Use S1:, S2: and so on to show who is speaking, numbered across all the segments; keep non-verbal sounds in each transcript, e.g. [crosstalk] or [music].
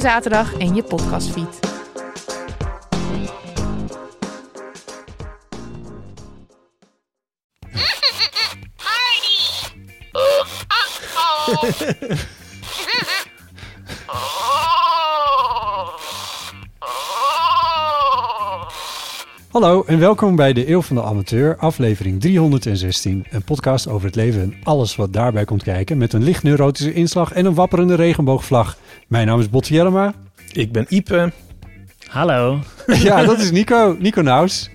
S1: zaterdag in je podcastfeed.
S2: Party! Uh-oh!
S3: Hallo en welkom bij de Eeuw van de Amateur, aflevering 316. Een podcast over het leven en alles wat daarbij komt kijken. Met een licht neurotische inslag en een wapperende regenboogvlag. Mijn naam is Botti Jellema.
S4: [laughs]
S5: Ik ben Ipe.
S4: Hallo. [laughs]
S3: Ja, dat is Nico. Nico Naus.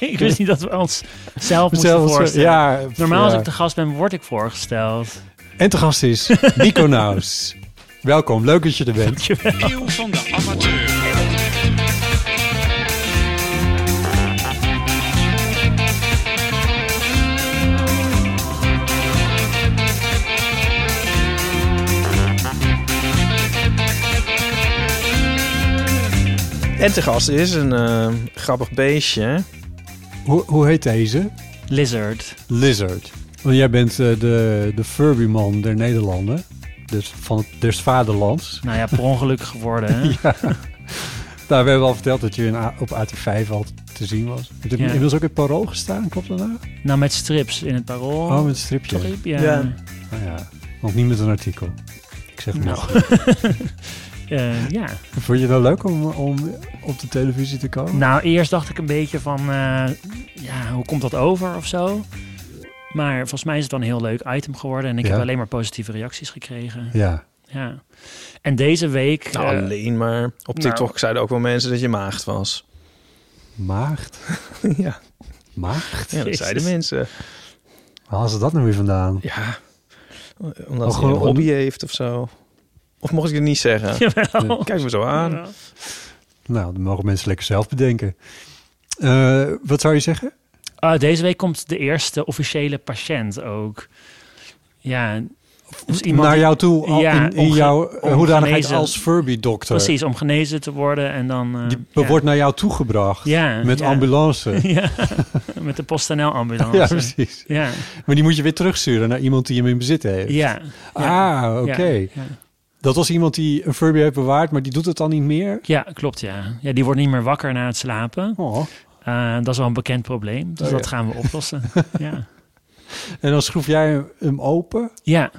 S4: ik wist niet dat we ons zelf moesten
S3: Zelfs, eh,
S4: voorstellen.
S3: ja,
S4: Normaal als
S3: ja.
S4: ik te gast ben, word ik voorgesteld.
S3: En te gast is Nico Naus. Welkom, leuk dat je er bent.
S5: En te gast is een eh, grappig beestje.
S3: Hoe, hoe heet deze?
S4: Lizard.
S3: Lizard. Want jij bent eh, de, de Furbyman der Nederlanden. Dus van het des vaderlands.
S4: Nou ja, per ongeluk geworden.
S3: [laughs]
S4: Hè?
S3: Nou, we hebben al verteld dat je in A- op AT5 al te zien was. Je hebt
S4: Ja.
S3: inmiddels ook in Parool gestaan, klopt dat nou?
S4: Nou, met strips in het parool.
S3: Oh, met een stripje.
S4: Strip, ja.
S5: Ja.
S3: Nou ja, want niet met een artikel. Ik zeg maar.
S4: Nou. Eh, ja.
S3: [laughs] Vond je het nou leuk om, om op de televisie te komen?
S4: Nou, eerst dacht ik een beetje van, eh, ja, hoe komt dat over of zo? Maar volgens mij is het wel een heel leuk item geworden. En ik
S3: Ja.
S4: heb alleen maar positieve reacties gekregen.
S3: Ja.
S4: Ja. En deze week...
S5: Nou,
S4: eh,
S5: alleen maar. Op
S4: nou.
S5: TikTok zeiden ook wel mensen dat je maagd was.
S3: Maagd?
S5: ja.
S3: Maagd?
S5: ja, dat
S4: Jezus.
S5: zeiden mensen.
S3: Waar haal ze dat nou weer
S4: [laughs]
S3: vandaan?
S5: Ja, omdat
S3: Oh,
S5: hij
S3: gewoon
S5: een
S3: om-
S5: hobby heeft of zo. Of mocht ik het niet zeggen?
S4: Jawel.
S5: Kijk me zo aan.
S4: Ja.
S3: Eh, Nou, dat mogen mensen lekker zelf bedenken. Eh, wat zou je zeggen?
S4: Ah, deze week komt de eerste officiële patiënt ook. Ja, dus iemand
S3: Naar
S4: die-
S3: jou toe, al
S4: Ja,
S3: in, in
S4: onge-
S3: jouw eh, hoedanigheid
S4: ongenezen.
S3: als Furby-dokter.
S4: precies om genezen te worden en dan. eh,
S3: Die
S4: ja.
S3: wordt naar jou toegebracht.
S4: Ja,
S3: Met
S4: ja.
S3: ambulance.
S4: [laughs] Ja, met de PostNL ambulance.
S3: [laughs] Ja,
S4: Ja,
S3: precies.
S4: ja,
S3: Maar die moet je weer terugsturen naar iemand die hem in bezit heeft.
S4: ja,
S3: Ah, oké.
S4: ja.
S3: Dat was iemand die een Furby heeft bewaard, maar die doet het dan niet meer?
S4: Ja, klopt. Ja. ja, die wordt niet meer wakker na het slapen.
S3: Oh.
S4: Eh, dat is wel een bekend probleem. Dus
S3: Oh,
S4: dat
S3: ja. [laughs]
S4: gaan we oplossen. ja.
S3: En dan schroef jij hem open
S4: ja,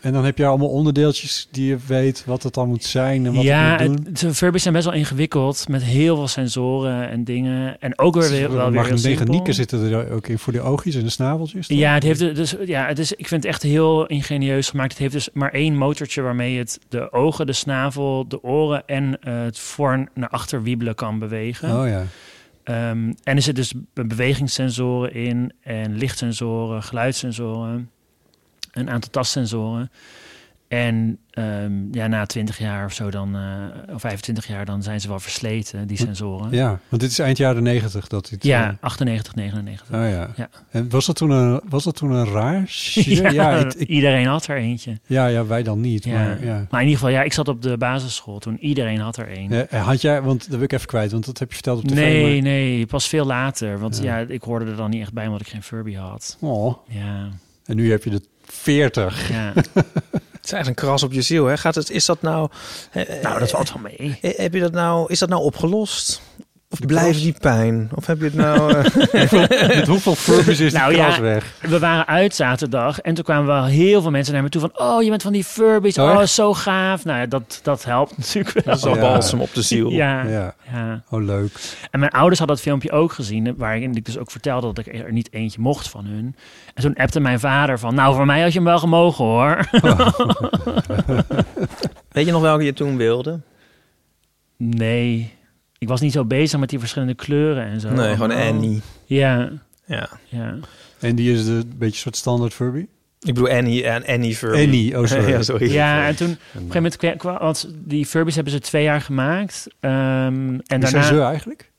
S3: en dan heb je allemaal onderdeeltjes die je weet wat het dan moet zijn en wat
S4: ja
S3: het moet doen.
S4: het- de Furbies zijn best wel ingewikkeld met heel veel sensoren en dingen. En ook weer, weer, wel weer heel
S3: Magnetmechanieken
S4: simpel.
S3: zitten er ook in voor de oogjes en de snaveltjes. toch?
S4: Ja, het heeft dus, ja, het is, ik vind het echt heel ingenieus gemaakt. Het heeft dus maar één motortje waarmee het de ogen, de snavel, de oren en eh, het voor naar achter wiebelen kan bewegen.
S3: Oh ja.
S4: Ehm, en er zitten dus be- bewegingssensoren in en lichtsensoren, geluidssensoren, een aantal tastsensoren. En ehm, ja, na 20 jaar of zo dan, eh, of 25 jaar, dan zijn ze wel versleten, die sensoren. Ja,
S3: ja, want dit is eind jaren negentig dat dit... eh,
S4: 98, 99.
S3: Oh ja.
S4: Ja.
S3: En was dat toen een, was dat toen een
S4: [laughs]
S3: raar? Ja, ja, ik- ik-
S4: iedereen had er eentje.
S3: ja, ja, wij dan niet.
S4: Ja.
S3: Maar, ja.
S4: Maar in ieder geval, ja, ik zat op de basisschool toen iedereen had er één.
S3: Ja, Eh, Had jij, want dat wil ik even kwijt, want dat heb je verteld op tv.
S4: nee, nee, pas veel later. Want
S3: Ja.
S4: ja. ik hoorde er dan niet echt bij omdat ik geen Furby had.
S3: maar- Oh,
S4: Ja,
S3: en nu heb je de 40.
S4: ja.
S3: [laughs]
S5: Het is eigenlijk een kras op je ziel. Hè? Gaat het, is dat nou... eh,
S4: nou, dat valt wel mee.
S5: eh, Heb je dat nou... Is dat nou opgelost? Of blijft die pijn? Of heb je het [laughs] nou... eh,
S3: Met hoeveel Furbies is
S4: Nou
S3: die
S4: ja.
S3: kras weg?
S4: We waren uit zaterdag en toen kwamen wel heel veel mensen naar me toe van... Oh, je bent van die Furbies.
S3: Oh,
S4: Oh,
S3: echt?
S4: zo gaaf. Nou ja, dat, dat helpt [laughs] natuurlijk wel.
S5: dat is al
S3: Ja.
S5: balsem op de ziel.
S4: Ja, ja.
S3: Ja, oh leuk.
S4: En mijn ouders hadden dat filmpje ook gezien, eh, waarin ik dus ook vertelde dat ik er niet eentje mocht van hun. En toen appte mijn vader van, nou voor mij had je hem wel gemogen hoor.
S5: Weet je nog welke je toen wilde?
S4: Nee, ik was niet zo bezig met die verschillende kleuren en zo. Oh.
S5: Nee, gewoon Annie.
S4: Ja,
S5: Ja.
S4: ja.
S3: En die is de, een beetje een soort standaard Furby?
S5: Ik bedoel Annie en Annie Furby.
S3: Annie, oh sorry.
S5: [laughs] ja, sorry.
S4: ja, eh, en toen op een gegeven moment kwa- kwa- want die Furbies hebben ze twee jaar gemaakt. Ehm, en
S3: Wie zijn
S4: daarna
S3: ze eigenlijk?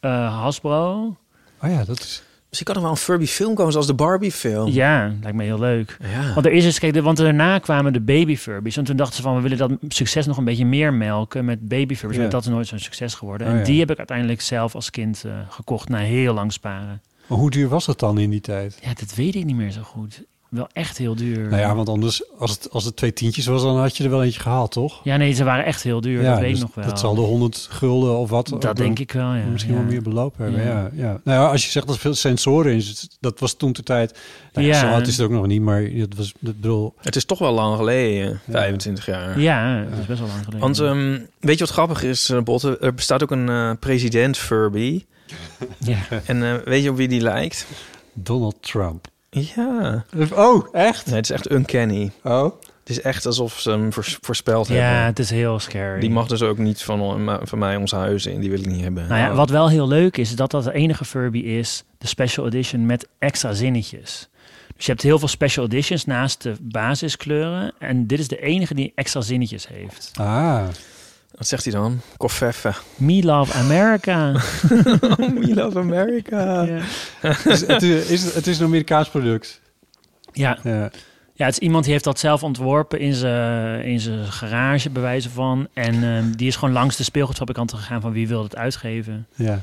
S4: eh, Hasbro.
S3: Oh ja, dat is...
S5: Dus ik had er wel een Furby film komen, zoals de Barbie
S3: Oh.
S5: film.
S4: Ja, lijkt me heel leuk.
S5: Ja.
S4: Want, er is dus, kijk, de- want daarna kwamen de baby Furbies. En toen dachten ze van, we willen dat succes nog een beetje meer melken met baby Furbies.
S3: Ja.
S4: Maar dat is nooit zo'n succes geworden.
S3: Oh,
S4: en
S3: ja.
S4: die heb ik uiteindelijk zelf als kind eh, gekocht na heel lang sparen.
S3: Maar hoe duur was dat dan in die tijd?
S4: Ja, dat weet ik niet meer zo goed. Wel echt heel duur.
S3: Nou ja, want anders, als het, als het twee tientjes was, dan had je er wel eentje gehaald, toch?
S4: Ja, nee, ze waren echt heel duur. dat weet
S3: dus
S4: ik nog wel.
S3: Dat zal de 100 gulden of wat.
S4: Dat denk ik wel, ja.
S3: Misschien
S4: ja.
S3: wel meer beloop hebben. Ja.
S4: Ja.
S3: Ja, Nou ja, als je zegt dat er veel sensoren in zitten, dat was toen de tijd. Nou ja,
S4: Ja.
S3: zo oud is het ook nog niet, maar dat was, dat bedoel,
S5: Het is toch wel lang geleden, 25 jaar.
S4: Ja, dat is best wel lang geleden.
S5: Want ehm, weet je wat grappig is, eh, Botte? Er bestaat ook een eh, president Furby.
S4: ja.
S5: En eh, weet je op wie die lijkt?
S3: Donald Trump.
S5: Ja.
S3: Oh, echt?
S5: Nee, het is echt uncanny.
S3: Oh.
S5: Het is echt alsof ze hem voors- voorspeld
S4: ja,
S5: hebben.
S4: het is heel scary.
S5: Die mag dus ook niet van, on- ma- van mij ons huis in. Die wil ik niet hebben.
S4: Nou ja, wat wel heel leuk is, is dat dat de enige Furby is, de special edition met extra zinnetjes. Dus je hebt heel veel special editions naast de basiskleuren. En dit is de enige die extra zinnetjes heeft.
S3: Ah,
S5: Wat zegt hij dan? [laughs] Koffeffe.
S4: Me love
S5: [laughs]
S4: America.
S5: We love America.
S4: ja.
S3: Dus het, [laughs] is, is, het is een Amerikaans product.
S4: Ja,
S3: Ja.
S4: ja, het is iemand die heeft dat zelf ontworpen in zijn in zijn garage, bij wijze van. En ehm, die is gewoon langs de speelgoedfabrikanten gegaan van wie wil het uitgeven.
S3: ja.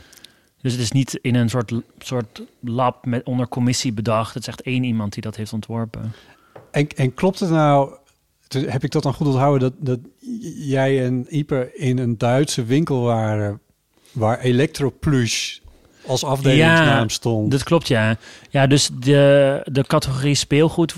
S4: Dus het is niet in een soort, soort lab met onder commissie bedacht. Het is echt één iemand die dat heeft ontworpen.
S3: En, en klopt het nou, te- heb ik dat dan goed onthouden, dat, dat jij en Ieper in een Duitse winkel waren waar Electroplush als afdelingsnaam stond?
S4: Dat klopt, ja. Ja, dus de, de categorie speelgoed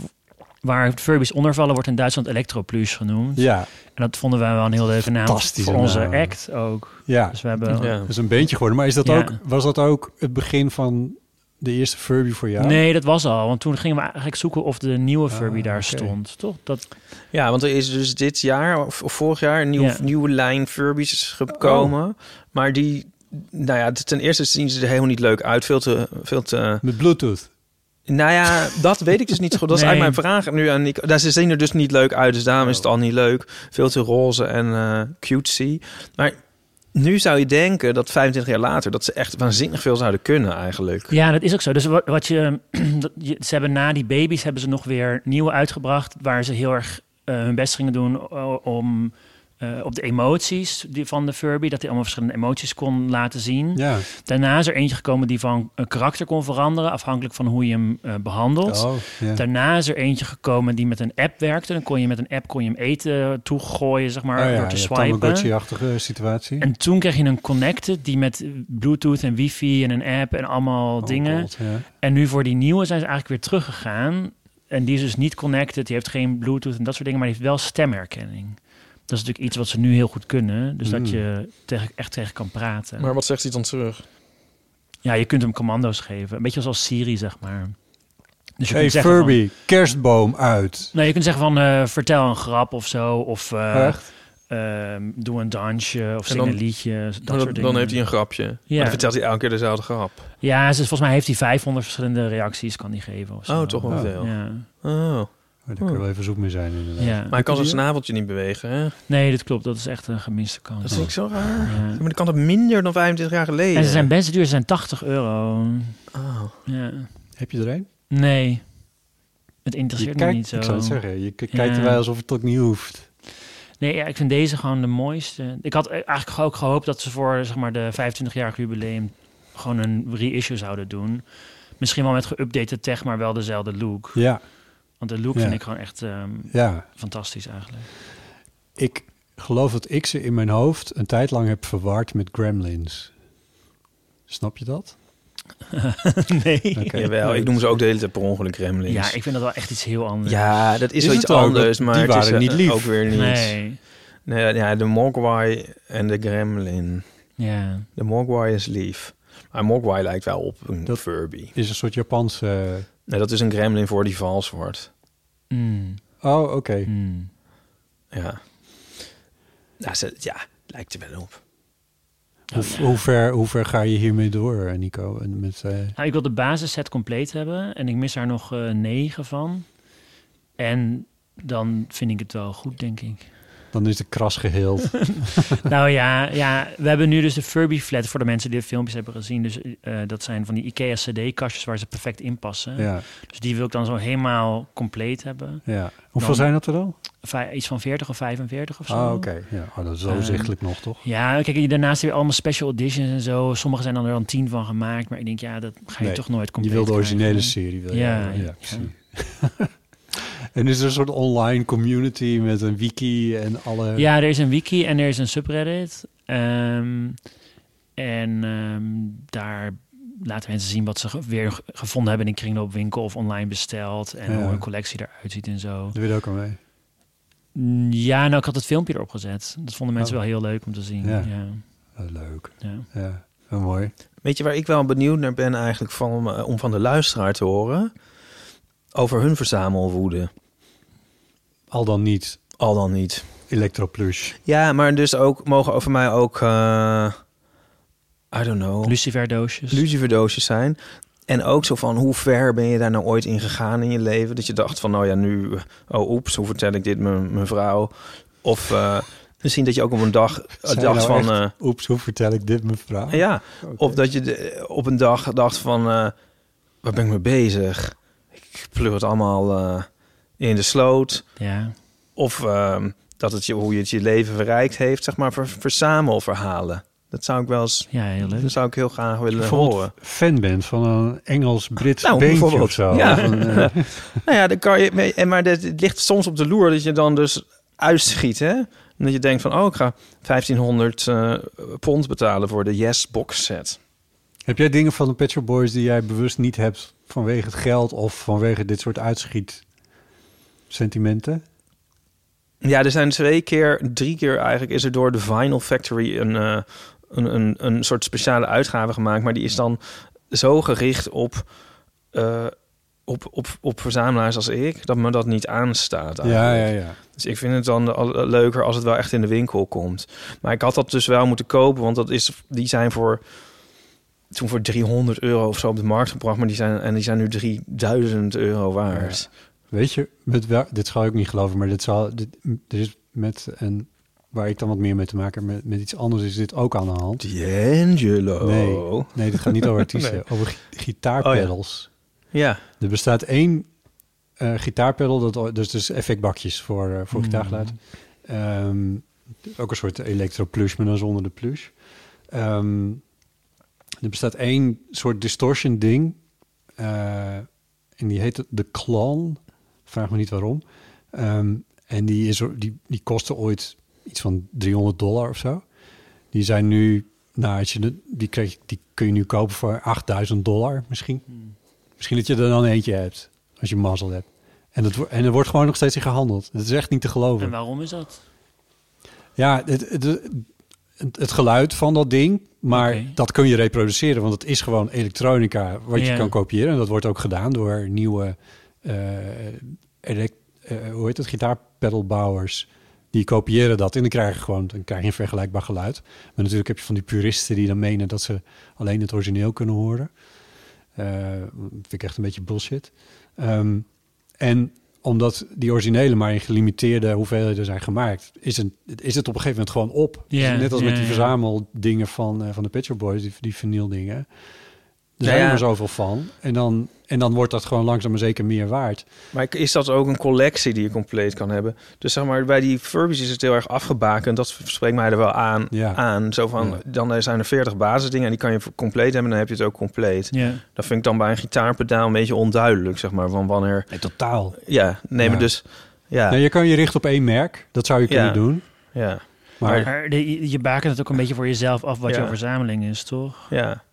S4: waar Furbies onder vallen wordt in Duitsland Electroplush genoemd.
S3: Ja,
S4: En dat vonden wij wel een heel leuke naam
S3: Fantastische
S4: voor onze
S3: naam.
S4: act ook.
S3: ja.
S4: Dus we hebben...
S5: Ja.
S3: Dat is een beentje geworden. Maar is dat
S4: Ja.
S3: ook, was dat ook het begin van de eerste Furby voor jou?
S4: Nee, dat was al. Want toen gingen we eigenlijk zoeken of de nieuwe Furby
S3: Ah,
S4: daar
S3: oké.
S4: stond. Toch? Dat,
S5: Ja, want er is dus dit jaar of, of vorig jaar een nieuw,
S4: Ja.
S5: nieuwe lijn Furbies gekomen. Maar die, nou ja, ten eerste zien ze er helemaal niet leuk uit. Veel te, veel te
S3: Met Bluetooth.
S5: nou ja, dat weet ik dus niet zo goed. Dat is
S4: Nee.
S5: eigenlijk mijn vraag nu aan Nico. Nou, ze zien er dus niet leuk uit, dus daarom is het al niet leuk. Veel te roze en eh, cutesy. Maar nu zou je denken dat 25 jaar later... dat ze echt waanzinnig veel zouden kunnen eigenlijk.
S4: ja, dat is ook zo. Dus wat, wat je, [clears throat] dat je- Ze hebben na die baby's hebben ze nog weer nieuwe uitgebracht... waar ze heel erg eh, hun best gingen doen o- om... eh, op de emoties die, van de Furby, dat hij allemaal verschillende emoties kon laten zien.
S3: Ja.
S4: Daarna is er eentje gekomen die van een karakter kon veranderen, afhankelijk van hoe je hem eh, behandelt.
S3: Oh, ja.
S4: Daarna is er eentje gekomen die met een app werkte. Dan kon je met een app kon je hem eten toegooien, zeg maar,
S3: Oh ja,
S4: door te
S3: ja,
S4: swipen.
S3: Tamagotchi-achtige situatie.
S4: En toen kreeg je een connected die met bluetooth en wifi en een app en allemaal
S3: Oh
S4: dingen.
S3: God, ja.
S4: En nu voor die nieuwe zijn ze eigenlijk weer teruggegaan. En die is dus niet connected, die heeft geen bluetooth en dat soort dingen, maar die heeft wel stemherkenning. Dat is natuurlijk iets wat ze nu heel goed kunnen. Dus
S3: Mm.
S4: dat je tegen, echt tegen kan praten.
S5: Hmm. wat zegt hij dan terug?
S4: Ja, je kunt hem commando's geven. Een beetje zoals Siri, zeg maar. Dus je
S3: Hey
S4: kunt zeggen van-
S3: Furby, kerstboom uit.
S4: nou, je kunt zeggen van eh, vertel een grap of zo. Of eh,
S3: Echt?
S4: ehm, doe een dansje of
S5: En
S4: zing
S5: dan-
S4: een liedje. Dat
S5: Dan,
S4: soort dingen.
S5: dan heeft hij een grapje. Maar dan vertelt hij elke keer dezelfde grap.
S4: Ja, dus volgens mij heeft hij 500 verschillende reacties kan hij geven. Of zo.
S5: Oh, toch wel
S3: Ja.
S5: veel.
S4: Ja.
S5: Oh.
S3: Oh, daar kunnen we wel even zoek mee zijn inderdaad.
S4: ja.
S5: Maar hij kan zijn snaveltje niet bewegen, hè?
S4: Nee, dat klopt. Dat is echt een gemiste kans.
S5: Dat vind ik zo raar.
S4: Ja.
S5: Maar dan kan dat minder dan 25 jaar geleden.
S4: En ze zijn best duur. Ze zijn 80 euro.
S5: Oh.
S4: [laughs] Ja.
S3: Heb je er een?
S4: Nee. Het
S3: Je
S4: interesseert me
S3: kijkt-
S4: niet zo.
S3: Ik zou het zeggen, je k- kijkt
S4: Ja.
S3: erbij alsof het ook niet hoeft.
S4: Nee, ja, ik vind deze gewoon de mooiste. Ik had eh, eigenlijk ook gehoopt dat ze voor zeg maar, de 25-jarig jubileum gewoon een reissue zouden doen. Misschien wel met geüpdate tech, maar wel dezelfde look.
S3: Ja,
S4: Want de look
S3: Ja.
S4: vind ik gewoon echt ehm,
S3: ja.
S4: fantastisch eigenlijk.
S3: Ik geloof dat ik ze in mijn hoofd een tijd lang heb verward met gremlins. Snap je dat?
S4: nee.
S3: Oké.
S5: Jawel, ik noem ze ook de hele tijd per ongeluk gremlins.
S4: Ja, ik vind dat wel echt iets heel anders.
S5: Ja, dat is,
S3: Is
S5: wel
S3: het
S5: iets
S3: ook?
S5: anders,
S3: Die
S5: maar het
S3: waren
S5: is
S3: niet
S5: eh,
S3: lief.
S5: ook weer niet.
S4: Nee.
S5: Nee, ja, de Mogwai en de Gremlin.
S4: Ja.
S5: De Mogwai is lief. Maar Mogwai lijkt wel op een
S3: Dat-
S5: Furby.
S3: Is een soort Japanse...
S5: Nee, dat is een Gremlin voor die vals wordt.
S4: Mm,
S3: Oh, oké.
S4: mm.
S5: Ja. Ja, ze, ja, lijkt er wel op.
S3: Hoe, hoe, ver, hoe ver ga je hiermee door, eh, Nico? En met, eh,
S4: Nou, ik wil de basisset compleet hebben en ik mis daar nog eh, negen van. En dan vind ik het wel goed, denk
S3: [laughs]
S4: ik.
S3: dan is de kras
S4: [laughs]
S3: geheeld.
S4: nou ja, ja, we hebben nu dus de Furby Flat voor de mensen die de filmpjes hebben gezien. Dus eh, dat zijn van die IKEA CD-kastjes waar ze perfect in passen.
S3: ja,
S4: Dus die wil ik dan zo helemaal compleet hebben.
S3: ja. Hoeveel
S4: Dan-
S3: zijn dat er dan?
S4: Vij- iets van 40 of 45 of zo.
S3: Ah, oké. Ja, oh, dat is zo
S4: Ehm,
S3: zichtelijk nog, toch?
S4: Ja, kijk, daarnaast weer allemaal special editions en zo. Sommige zijn dan er dan tien van gemaakt. Maar ik denk, ja, dat ga je
S3: Nee,
S4: toch nooit
S3: Je
S4: compleet
S3: wil de originele
S4: krijgen.
S3: serie. Wil je
S4: Ja,
S3: hebben.
S4: ja.
S3: ja precies. en is er een soort online community met een wiki en
S5: Eh.
S3: alle...
S4: Ja, er is een wiki en er is een subreddit. Ehm, en ehm, daar laten mensen zien wat ze ge- weer ge- gevonden hebben in een kringloopwinkel of online besteld. En
S3: Ja.
S4: hoe hun collectie eruit ziet en zo.
S3: Doe je dat ook al mee?
S4: Mm, Ja, nou, ik had het filmpje erop gezet. Dat vonden mensen
S3: Oh.
S4: wel heel leuk om te zien.
S3: Ja.
S4: Ja. Ja,
S3: Oh, leuk. Ja, oh, mooi.
S5: Weet je waar ik wel benieuwd naar ben eigenlijk van, om, eh, om van de luisteraar te horen? Over hun verzamelwoede.
S3: Al dan niet
S5: Al dan niet.
S3: Electroplush.
S5: Ja, maar dus ook mogen over mij ook, eh, I don't know,
S4: Luciferdoosjes.
S5: luciferdoosjes zijn. En ook zo van, hoe ver ben je daar nou ooit in gegaan in je leven? Dat je dacht van, nou ja, nu, eh, oh oeps, hoe vertel ik dit mijn mijn vrouw? Of eh, misschien dat je ook op een dag eh,
S3: Zijn
S5: dacht
S3: nou
S5: van...
S3: echt- Oeps, hoe vertel ik dit mevrouw?
S5: eh, ja, of dat je de- op een dag dacht van, eh, waar ben ik mee bezig? Ik pleur het allemaal eh, in de sloot.
S4: Ja.
S5: Of ehm, dat het je, hoe je het je leven verrijkt heeft, zeg maar, ver, verzamelverhalen. Dat zou ik wel eens,
S4: ja, heel leuk.
S5: dat zou ik heel graag willen
S3: Bijvoorbeeld
S5: horen.
S3: fan bent van een Engels-Brits
S5: Nou,
S3: beentje
S5: bijvoorbeeld.
S3: of zo.
S5: Ja.
S3: Of een, eh,
S5: [laughs] Nou ja, dan kan je, mee- en maar dit- het ligt soms op de loer dat je dan dus uitschiet, hè? Omdat je denkt van, oh, ik ga 1500 eh, pond betalen voor de Yes Box set.
S3: heb jij dingen van de Pet Shop Boys die jij bewust niet hebt vanwege het geld of vanwege dit soort uitschiet sentimenten?
S5: Ja, er zijn twee keer, drie keer eigenlijk, is er door de Vinyl Factory een, eh, een, een, een soort speciale uitgave gemaakt. Maar die is dan zo gericht op, eh, op, op, op verzamelaars als ik, dat me dat niet aanstaat.
S3: Ja,
S5: eigenlijk.
S3: ja, ja.
S5: Dus ik vind het dan al- eh, leuker als het wel echt in de winkel komt. Maar ik had dat dus wel moeten kopen, want dat is, die zijn voor toen voor 300 euro of zo op de markt gebracht, maar die zijn en die zijn nu 3000 euro waard.
S3: Weet je, met wel, dit zal ik niet geloven, maar dit zal, dit, dit is met een, waar ik dan wat meer mee te maken heb, met, met iets anders is dit ook aan de hand.
S5: D'Angelo.
S3: Nee, nee, dit gaat niet
S5: [laughs]
S3: over artiesten,
S5: Nee. Oh
S3: over gi- gitaarpedals.
S5: Ja.
S3: Er bestaat één eh gitaarpedal, dat, o- dus, dus effectbakjes voor, eh,
S5: Mm.
S3: voor gitaargeluid. Ehm, ook een soort electroplush, maar dan zonder de plush. Ehm, er bestaat één soort distortion ding. eh, en die heet de Clan. Vraag me niet waarom. Ehm, en die, is, er- die, die kostte ooit iets van 300 dollar of zo. Die zijn nu, nou, als je de, die, kreeg, die kun je nu kopen voor 8000 dollar misschien. Misschien dat je er dan eentje hebt, als je mazzel hebt. En, dat, wo- en er wordt gewoon nog steeds in gehandeld. Het is echt niet te geloven.
S4: En waarom is dat?
S3: Ja, het, het, het, het geluid van dat ding. Maar
S4: Oké.
S3: dat kun je reproduceren, want het is gewoon elektronica wat
S4: Ja.
S3: je kan kopiëren. En dat wordt ook gedaan door nieuwe, eh, elec- eh, hoe heet het, gitaarpedalbouwers. Die kopiëren dat en dan krijg je gewoon dan krijg je een vergelijkbaar geluid. Maar natuurlijk heb je van die puristen die dan menen dat ze alleen het origineel kunnen horen. Eh, vind ik echt een beetje bullshit. Ehm, en omdat die originele maar in gelimiteerde hoeveelheden zijn gemaakt, is het, is het op een gegeven moment gewoon op.
S4: Ja,
S3: Dus net als met
S4: ja,
S3: die
S4: ja.
S3: verzameldingen van, eh, van de Pet Shop Boys, die, die vinyl dingen. Er zijn
S5: ja.
S3: er maar zoveel van. En dan, en dan wordt dat gewoon langzaam maar zeker meer waard.
S5: Maar ik- is dat ook een collectie die je compleet kan hebben? Dus zeg maar, bij die Furbies is het heel erg afgebakend. Dat spreekt mij er wel aan.
S3: Ja.
S5: aan. Zo van,
S3: Ja.
S5: dan zijn er 40 basisdingen en die kan je voor- compleet hebben. Dan heb je het ook compleet.
S4: Ja.
S5: Dat vind ik dan bij een gitaarpedaal een beetje onduidelijk, zeg maar. Van wanneer...
S3: Nee, totaal.
S5: Ja, nee,
S3: Ja.
S5: maar dus... Ja,
S3: Nou, je kan je richten op één merk. Dat zou je kunnen
S5: Ja.
S3: doen.
S5: ja,
S3: Maar
S4: Maar de- je, je bakent het ook een beetje voor jezelf af wat
S5: Ja.
S4: jouw verzameling is, toch?
S5: ja.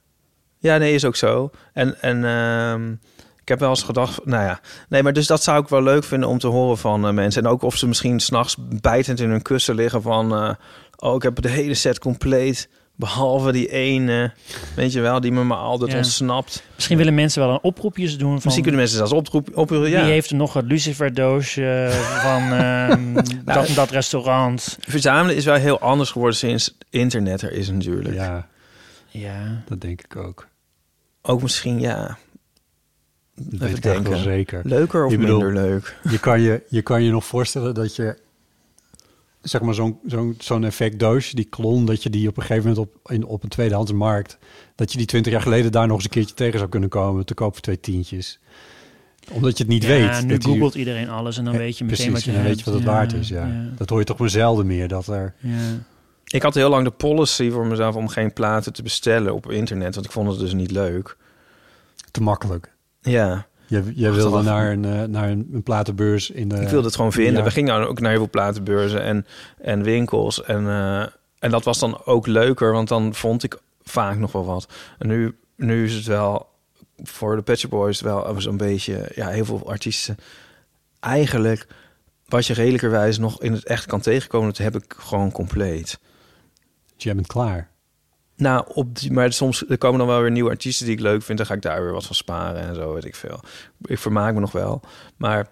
S5: Ja, nee, is ook zo. En, en ehm, ik heb wel eens gedacht, nou ja. Nee, maar dus dat zou ik wel leuk vinden om te horen van eh, mensen. En ook of ze misschien s'nachts bijtend in hun kussen liggen van... eh, oh, ik heb de hele set compleet, behalve die ene, weet je wel, die me maar altijd
S4: Ja.
S5: ontsnapt.
S4: Misschien willen mensen wel een oproepjes doen. Van,
S5: Misschien kunnen mensen zelfs oproepen. oproepen ja.
S4: Wie heeft er nog een
S5: [laughs]
S4: luciferdoosje van ehm,
S5: Nou,
S4: dat, dat restaurant?
S5: Verzamelen is wel heel anders geworden sinds internet er is natuurlijk.
S3: Ja,
S4: Ja.
S3: dat denk ik ook.
S5: Ook misschien, ja,
S3: Dat
S5: Even
S3: weet ik echt wel
S5: denken.
S3: zeker.
S5: leuker of
S3: Je bedoelt-
S5: minder leuk.
S3: Je kan je, je kan je nog voorstellen dat je... Zeg maar zo'n zo'n zo'n effectdoos, die klon... dat je die op een gegeven moment op, in, op een tweedehands markt... dat je die twintig jaar geleden daar nog eens een keertje tegen zou kunnen komen... te koop voor twee tientjes. Omdat je het niet
S4: ja,
S3: weet.
S4: nu
S3: dat die-
S4: googelt iedereen alles en dan
S3: Ja,
S4: weet je meteen
S3: precies,
S4: wat je
S3: en dan
S4: hebt.
S3: weet je wat het
S4: Ja,
S3: waard is, ja.
S4: ja,
S3: Dat hoor je toch maar zelden meer, dat er...
S4: ja.
S5: Ik had heel lang de policy voor mezelf om geen platen te bestellen op internet, want ik vond het dus niet leuk.
S3: te makkelijk.
S5: Ja,
S3: Jij, jij
S5: Ach,
S3: wilde
S5: dat-
S3: naar een, eh, naar een, een platenbeurs in de...
S5: ik wilde het gewoon vinden.
S3: ja.
S5: We gingen dan ook naar heel veel platenbeurzen en, en winkels. En, eh, en dat was dan ook leuker, want dan vond ik vaak nog wel wat. En nu, nu is het wel voor de Pet Shop Boys wel zo'n beetje... Ja, heel veel artiesten eigenlijk... Wat je redelijkerwijs nog in het echt kan tegenkomen, dat heb ik gewoon compleet.
S3: Jam en klaar.
S5: Nou, op die, maar soms er komen dan wel weer nieuwe artiesten die ik leuk vind. Dan ga ik daar weer wat van sparen en zo, weet ik veel. Ik vermaak me nog wel. Maar,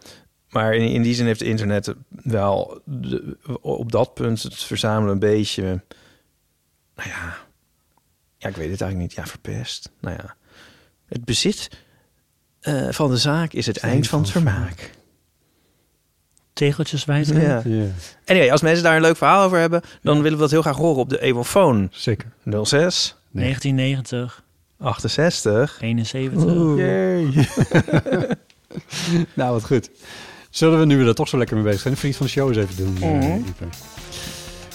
S5: maar in, in die zin heeft het internet wel de- op dat punt het verzamelen een beetje... Nou ja, ja, ik weet het eigenlijk niet. Ja, verpest. Nou ja, het bezit eh, van de zaak is het eind van het vermaak.
S4: Tegeltjes wijzen.
S5: Ja.
S3: Ja,
S5: Anyway, als mensen daar een leuk verhaal over hebben... dan willen we dat heel graag horen op de Ewofoon
S3: zeker.
S5: 06
S4: 1990,
S5: 68
S4: 71.
S3: [laughs] nou, wat goed. Zullen we nu we er toch zo lekker mee bezig zijn? Een vriend van de show eens even doen. eh, Ipe.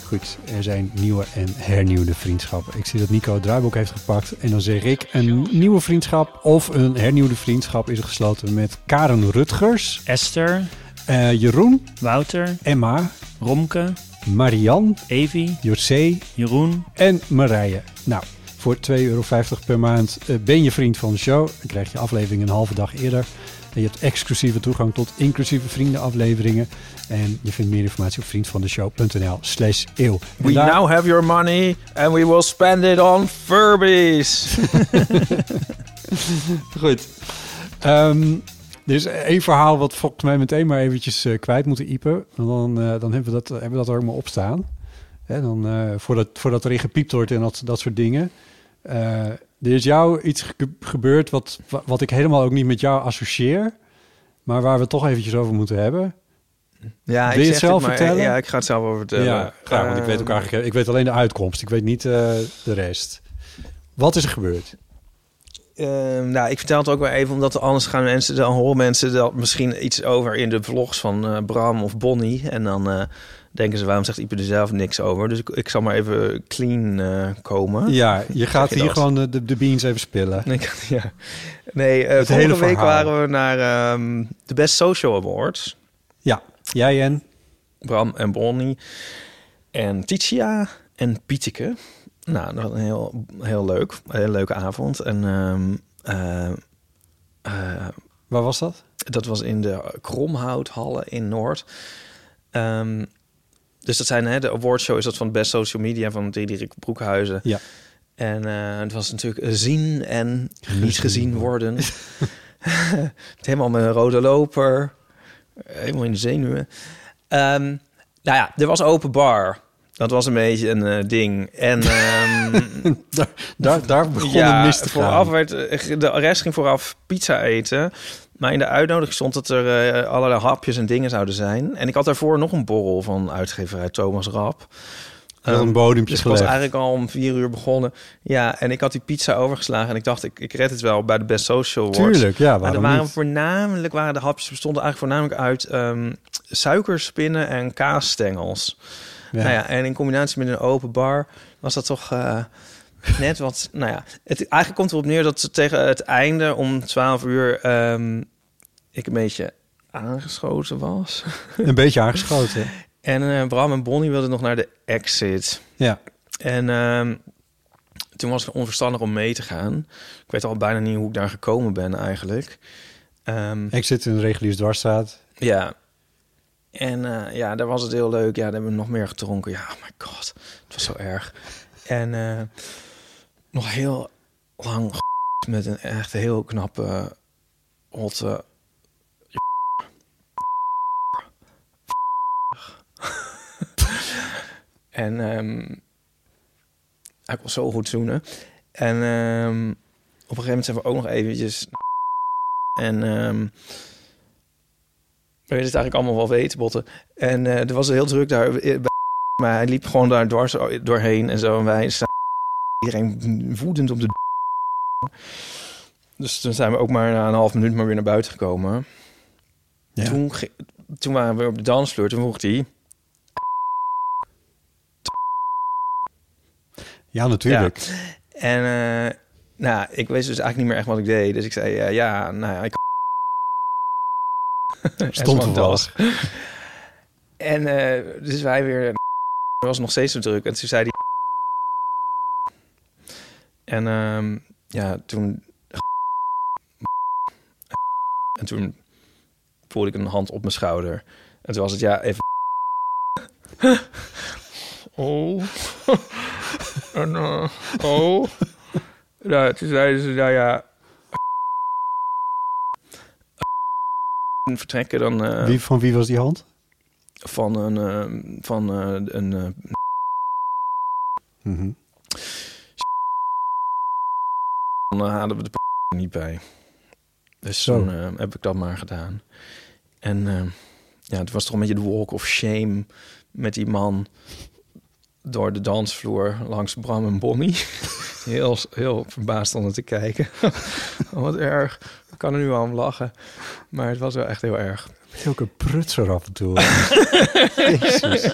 S3: Goed, er zijn nieuwe en hernieuwde vriendschappen. Ik zie dat Nico het draaiboek heeft gepakt. En dan zeg ik, een nieuwe vriendschap of een hernieuwde vriendschap is er gesloten met Karen Rutgers,
S4: Esther,
S3: eh, Jeroen,
S4: Wouter,
S3: Emma,
S4: Romke,
S3: Marian,
S4: Evi,
S3: José,
S4: Jeroen.
S3: en Marije. Nou, voor 2,50 euro per maand eh, ben je vriend van de show. Dan krijg je aflevering een halve dag eerder. En je hebt exclusieve toegang tot inclusieve vriendenafleveringen. En je vindt meer informatie op vriendvandeshow.nl slash eeuw. En
S5: We
S3: daar-
S5: now have your money and we will spend it on
S3: [laughs]
S5: Furbies.
S3: Goed. Ehm, er is één verhaal wat volgens mij meteen maar eventjes eh, kwijt moeten iepen. En dan, eh, dan hebben, we dat, hebben we dat er ook maar op staan. Hè, dan, eh, voordat, voordat erin gepiept wordt en dat, dat soort dingen. Eh, er is jou iets ge- gebeurd wat, wa- wat ik helemaal ook niet met jou associeer. Maar waar we het toch eventjes over moeten hebben.
S5: Ja,
S3: Wil je
S5: zeg
S3: het zelf
S5: maar,
S3: vertellen?
S5: Ja, ik ga het zelf wel vertellen.
S3: ja, eh, graag, want ik weet ook
S5: Ehm,
S3: eigenlijk... Ik weet alleen de uitkomst. Ik weet niet eh, de rest. Wat is er gebeurd?
S5: ehm, nou, ik vertel het ook wel even, omdat anders gaan mensen, dan horen mensen dat misschien iets over in de vlogs van eh, Bram of Bonnie. En dan eh, denken ze, waarom zegt Ipe er zelf niks over? Dus ik, ik zal maar even clean eh, komen.
S3: Ja, je gaat
S5: je
S3: hier
S5: dat?
S3: gewoon de, de, de beans even spillen.
S5: Nee, ik- [laughs] ja. nee eh,
S3: Het
S5: vorige
S3: hele
S5: week
S3: verhaal.
S5: waren we naar ehm, de Best Social Awards.
S3: Ja, jij en...
S5: Bram en Bonnie en Titia en Pieteke. Nou, dat was een heel, heel leuk. Een hele leuke avond. En ehm, eh, eh,
S3: Waar was dat?
S5: dat was in de Kromhouthallen in Noord. Ehm, dus dat zijn hè, de awardshow is dat van Best Social Media van Diederik Broekhuizen.
S3: Ja.
S5: En eh, het was natuurlijk zien en niet gezien worden. [laughs] Het helemaal met een rode loper. Helemaal in de zenuwen. Ehm, nou ja, er was open bar. Dat was een beetje een eh, ding. [laughs] En ehm,
S3: Daar, daar, daar begon
S5: ja,
S3: het mis te gaan.
S5: vooraf werd, eh, de rest ging vooraf pizza eten. Maar in de uitnodiging stond dat er eh, allerlei hapjes en dingen zouden zijn. En ik had daarvoor nog een borrel van uitgeverij Thomas Rap.
S3: Wel een
S5: Ehm,
S3: bodempje
S5: Dus ik was
S3: gelegd.
S5: eigenlijk al om vier uur begonnen. Ja, en ik had die pizza overgeslagen. En ik dacht, ik, ik red het wel bij de Best Social Awards.
S3: Tuurlijk, ja,
S5: Maar er
S3: waarom
S5: waren
S3: niet?
S5: voornamelijk waren de hapjes bestonden eigenlijk voornamelijk uit ehm, suikerspinnen en kaasstengels.
S3: Ja.
S5: Nou ja, en in combinatie met een open bar was dat toch eh, [laughs] net wat. Nou ja, het eigenlijk komt erop neer dat ze tegen het einde om 12 uur ehm, ik een beetje aangeschoten was. [laughs]
S3: Een beetje aangeschoten.
S5: En eh, Bram en Bonnie wilden nog naar de exit.
S3: Ja,
S5: En ehm, toen was het onverstandig om mee te gaan. Ik weet al bijna niet hoe ik daar gekomen ben eigenlijk. Ehm,
S3: Ik zit in de reguliers dwarsstraat.
S5: ja. En eh, ja, daar was het heel leuk. Ja, daar hebben we nog meer gedronken. Ja, oh my god. Het was zo erg. En eh, nog heel lang [laughs] met een echt heel knappe hotte... [laughs] en ehm hij kon zo goed zoenen. En ehm, op een gegeven moment zijn we ook nog eventjes... [laughs] En... ehm we willen het eigenlijk allemaal wel weten, botten. En eh, er was heel druk daar. eh, bij- Maar hij liep gewoon daar dwars doorheen en zo. En wij staan iedereen woedend op de. Dus toen zijn we ook maar na een half minuut maar weer naar buiten gekomen.
S3: Ja.
S5: Toen, ge- toen waren we op de dansvloer. Toen vroeg hij.
S3: Ja, natuurlijk.
S5: En eh, nou, ik wist dus eigenlijk niet meer echt wat ik deed. Dus ik zei, eh, ja, nou ja, ik... [laughs] En
S3: Stond
S5: zwang
S3: toevallig.
S5: tas. En eh, dus wij weer... Het was nog steeds zo druk. En toen zei hij... En ehm, ja, toen... En toen voelde ik een hand op mijn schouder. En toen was het, ja, even... Oh. en, eh, oh. Nou, toen zeiden ze, nou ja... Vertrekken dan... eh,
S3: Wie, van wie was die hand?
S5: van een, eh, van eh, een eh,
S3: Mhm.
S5: dan hadden we de p- niet bij. Dus
S3: Zo.
S5: toen eh, heb ik dat maar gedaan. En eh, ja, het was toch een beetje de walk of shame met die man door de dansvloer langs Bram en Bonnie. [laughs] heel, heel verbaasd om het te kijken. [laughs] Oh, Wat erg. Ik kan er nu al om lachen. Maar het was wel echt heel erg.
S3: Ook een prutser af en [laughs] toe. Jezus.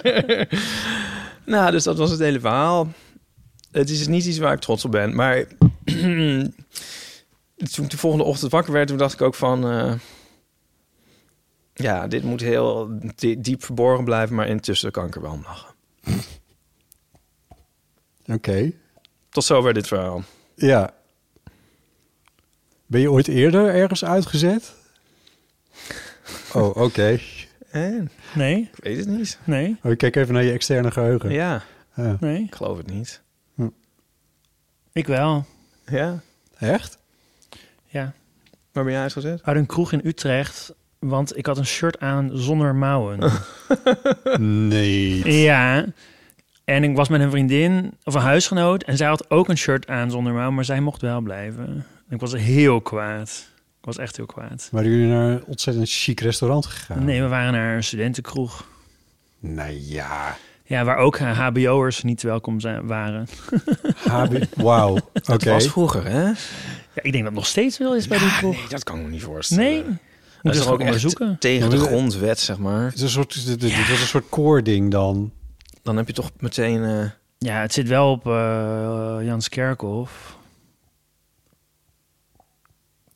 S5: nou, dus dat was het hele verhaal. Het is dus niet iets waar ik trots op ben. Maar [clears throat] toen ik de volgende ochtend wakker werd, toen dacht ik ook van... eh, ja, dit moet heel di- diep verborgen blijven, maar intussen kan ik er wel om lachen.
S3: Oké.
S5: Tot zover dit verhaal.
S3: Ja. Ben je ooit eerder ergens uitgezet? Oh, oké.
S5: Eh,
S4: Nee,
S5: ik weet het niet.
S4: nee,
S3: Oh, ik kijk even naar je externe geheugen.
S5: Ja,
S3: Ja.
S4: nee.
S5: ik geloof het niet.
S4: Ik wel,
S5: Ja,
S3: Echt?
S4: ja.
S5: waar ben je uitgezet?
S4: Uit een kroeg in Utrecht, want ik had een shirt aan zonder mouwen.
S3: Nee.
S4: Ja. En ik was met een vriendin of een huisgenoot en zij had ook een shirt aan zonder mouwen, maar zij mocht wel blijven. En ik was heel kwaad. Ik was echt heel kwaad.
S3: Waren jullie naar een ontzettend chic restaurant gegaan?
S4: Nee, we waren naar een studentenkroeg.
S3: Nou ja.
S4: Ja, waar ook eh, HBO'ers niet welkom zijn, waren.
S3: HB...
S4: [laughs]
S3: Wauw. Oké.
S5: was vroeger, hè?
S4: Ja, ik denk dat nog steeds wel is bij die kroeg.
S5: Nee, dat kan ik me niet voorstellen.
S4: Nee,
S5: dat
S4: moet
S5: is
S4: je
S5: toch ook
S4: ook
S5: echt
S4: onderzoeken.
S5: tegen de
S3: Maar we-
S5: grondwet, zeg maar.
S3: Het is een soort, dit, dit was een soort koording dan.
S5: Dan heb je toch meteen... eh,
S4: Ja, het zit wel op eh Jans Kerkhof.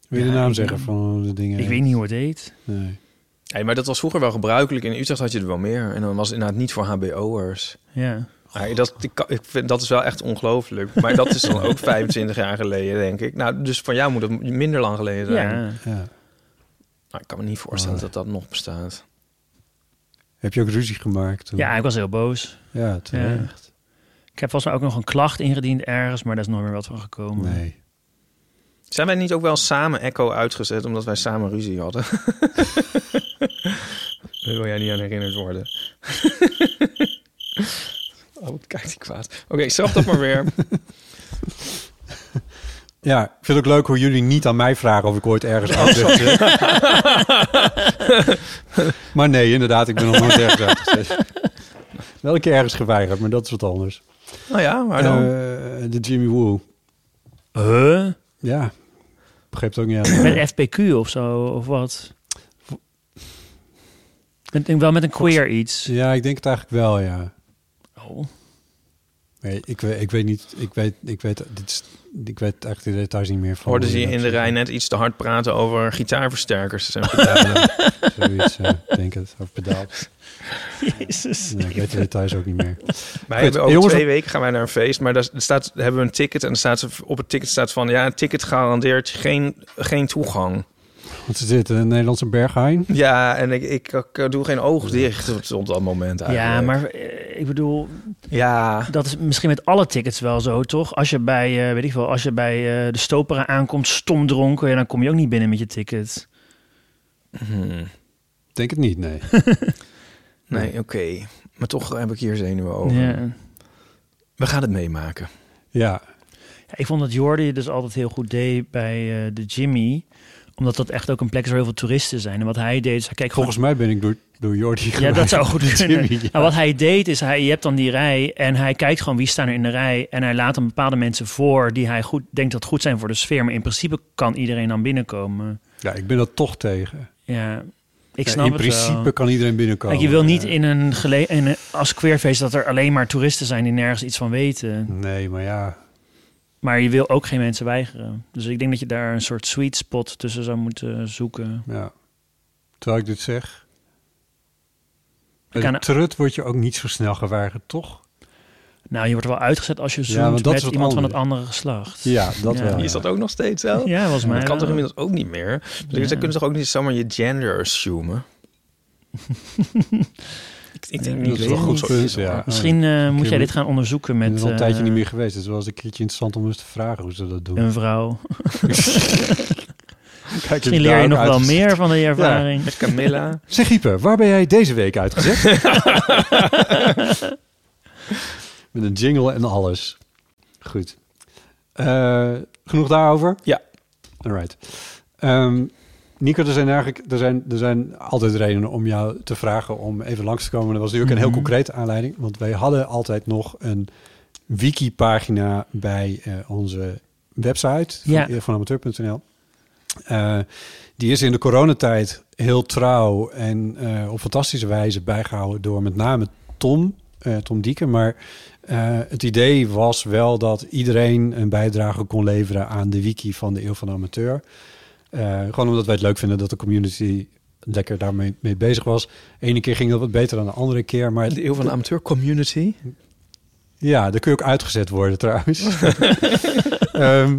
S3: Wil je
S4: Ja,
S3: de naam
S4: ik-
S3: zeggen van de dingen?
S4: Ik weet niet hoe het heet.
S3: Nee.
S5: Hey, maar dat was vroeger wel gebruikelijk. In Utrecht had je er wel meer. En dan was het inderdaad niet voor HBO'ers.
S4: Ja.
S5: Maar dat, ik, kan- ik vind, dat is wel echt ongelooflijk. Maar dat is dan [laughs] ook 25 jaar geleden, denk ik. Nou, dus van jou moet het minder lang geleden zijn.
S4: ja.
S3: Ja.
S5: Nou, ik kan me niet voorstellen dat dat nog bestaat.
S3: Heb je ook ruzie gemaakt toen?
S4: Ja, ik was heel boos.
S3: Ja, terecht.
S4: Ik heb volgens mij ook nog een klacht ingediend ergens, maar daar is nooit meer wat van gekomen.
S3: Nee.
S5: Zijn wij niet ook wel samen Echo uitgezet omdat wij samen ruzie [laughs] hadden? Daar wil jij niet aan herinnerd worden. [laughs] oh, wat kijkt die kwaad. Oké, zorg dat maar weer.
S3: Ja, ik vind het ook leuk hoe jullie niet aan mij vragen of ik ooit ergens
S4: Oh,
S3: afzet. [laughs] maar nee, inderdaad, ik ben nog nooit ergens uitgezet. Wel een keer ergens geweigerd, maar dat is wat anders.
S5: [laughs] nou ja, maar dan...
S3: Eh, de Jimmy Woo.
S5: Eh,
S4: Huh?
S3: Ja, begreep het ook niet.
S4: [clears throat]
S3: helemaal.
S4: Met FPQ of zo, of wat? Ik denk wel met een queer iets.
S3: Ja, ik denk het eigenlijk wel, ja.
S4: Oh.
S3: Nee, ik, weet- ik weet niet. Ik weet, ik weet, dit is, ik weet echt de details niet meer van.
S5: Hoorden ze
S3: hoe
S5: je in de
S3: dat-
S5: rij net iets te hard praten over gitaarversterkers [laughs] en pedalen?
S3: Zoiets, ja, ik denk het. Of pedaals.
S4: [laughs] Jezus.
S3: Nee, ik weet de details ook niet meer.
S5: Wij
S3: Goed,
S5: hebben over
S3: jongens,
S5: twee weken gaan wij naar een feest, maar daar staat, hebben we een ticket en er staat, op het ticket staat van ja, een ticket garandeert geen, geen toegang.
S3: Wat is dit? Een Nederlandse berghain?
S5: [laughs] Ja, en ik, ik, ik doe geen oog dicht op, op dat moment eigenlijk.
S4: Ja, maar eh, ik bedoel,
S5: Ja,
S4: dat is misschien met alle tickets wel zo, toch? Als je bij, eh, weet ik wel, als je bij eh, de stopera aankomt, stom dronken, ja, dan kom je ook niet binnen met je ticket.
S5: Hmm.
S3: Ik Denk het niet, nee.
S5: nee, oké. Maar toch heb ik hier zenuwen over.
S4: Ja.
S5: We gaan het meemaken.
S3: Ja,
S4: Ja, Ik vond dat Jordi het dus altijd heel goed deed bij eh, de Jimmy. Omdat dat echt ook een plek is waar heel veel toeristen zijn. En wat hij deed, is hij keek
S3: volgens
S4: gewoon...
S3: mij ben ik door, door Jordi
S4: Ja,
S3: geweest.
S4: dat zou goed
S3: [laughs]
S4: kunnen.
S3: Jimmy, ja.
S4: Maar wat hij deed, is hij, je hebt dan die rij en hij kijkt gewoon wie staan er in de rij. En hij laat dan bepaalde mensen voor die hij goed, denkt dat goed zijn voor de sfeer. Maar in principe kan iedereen dan binnenkomen.
S3: Ja, ik ben dat toch tegen.
S4: Ja, ik
S3: Ja,
S4: snap
S3: in
S4: het
S3: principe
S4: wel.
S3: kan iedereen binnenkomen.
S4: Kijk, je wil niet
S3: Ja.
S4: in een, gele- in een als queerfeest dat er alleen maar toeristen zijn die nergens iets van weten.
S3: Nee, maar ja.
S4: Maar je wil ook geen mensen weigeren. Dus ik denk dat je daar een soort sweet spot tussen zou moeten zoeken.
S3: ja. Terwijl ik dit zeg...
S4: Ik
S3: Bij
S4: kan-
S3: de trut word je ook niet zo snel geweigerd, toch?
S4: Nou, je wordt wel uitgezet als je zoomt
S3: want dat
S4: met
S3: is wat
S4: iemand van het
S3: anders.
S4: andere geslacht.
S3: Ja, dat
S4: Ja.
S3: wel.
S4: Is
S5: Is
S3: ja.
S5: dat ook nog steeds zo?
S4: Ja, volgens mij
S5: dat
S4: wel.
S5: kan toch inmiddels ook niet meer? Dus dan kunnen ze toch ook niet zomaar je gender
S4: [laughs]
S5: assumen? ik, ik denk
S3: Dat
S5: niet
S3: is
S5: dat
S3: wel
S5: het
S3: goed
S5: zo
S3: punt,
S5: is, hoor.
S3: ja. Ah,
S4: Misschien eh, moet
S3: Kim-
S4: jij dit gaan onderzoeken
S3: Ik
S4: met
S3: ben er al een tijdje
S4: eh,
S3: niet meer geweest. dus Het was wel eens een keertje interessant om eens te vragen hoe ze dat doen.
S4: een vrouw.
S3: Kijk,
S4: Misschien leer je nog wel meer van die ervaring.
S5: Met [laughs] Camilla.
S3: Zeg Ieper, waar ben jij deze week uitgezet? Met een jingle en alles. Goed. Eh, genoeg daarover?
S5: Ja.
S3: Alright. Ehm, Nico, er zijn eigenlijk er zijn, er zijn altijd redenen om jou te vragen om even langs te komen. Dat was natuurlijk een heel concrete aanleiding, want wij hadden altijd nog een wiki-pagina bij eh, onze website van,
S4: Ja.
S3: van amateur.nl. Eh, die is in de coronatijd heel trouw en eh, op fantastische wijze bijgehouden door met name Tom, eh, Tom Dieken. Maar eh, het idee was wel dat iedereen een bijdrage kon leveren aan de wiki van de Eeuw van de Amateur. Eh, gewoon omdat wij het leuk vinden dat de community lekker daarmee mee bezig was. Ene keer ging dat wat beter dan de andere keer. Maar
S5: De eeuw van de amateur community.
S3: ja, daar kun je ook uitgezet worden trouwens. [laughs] Ehm,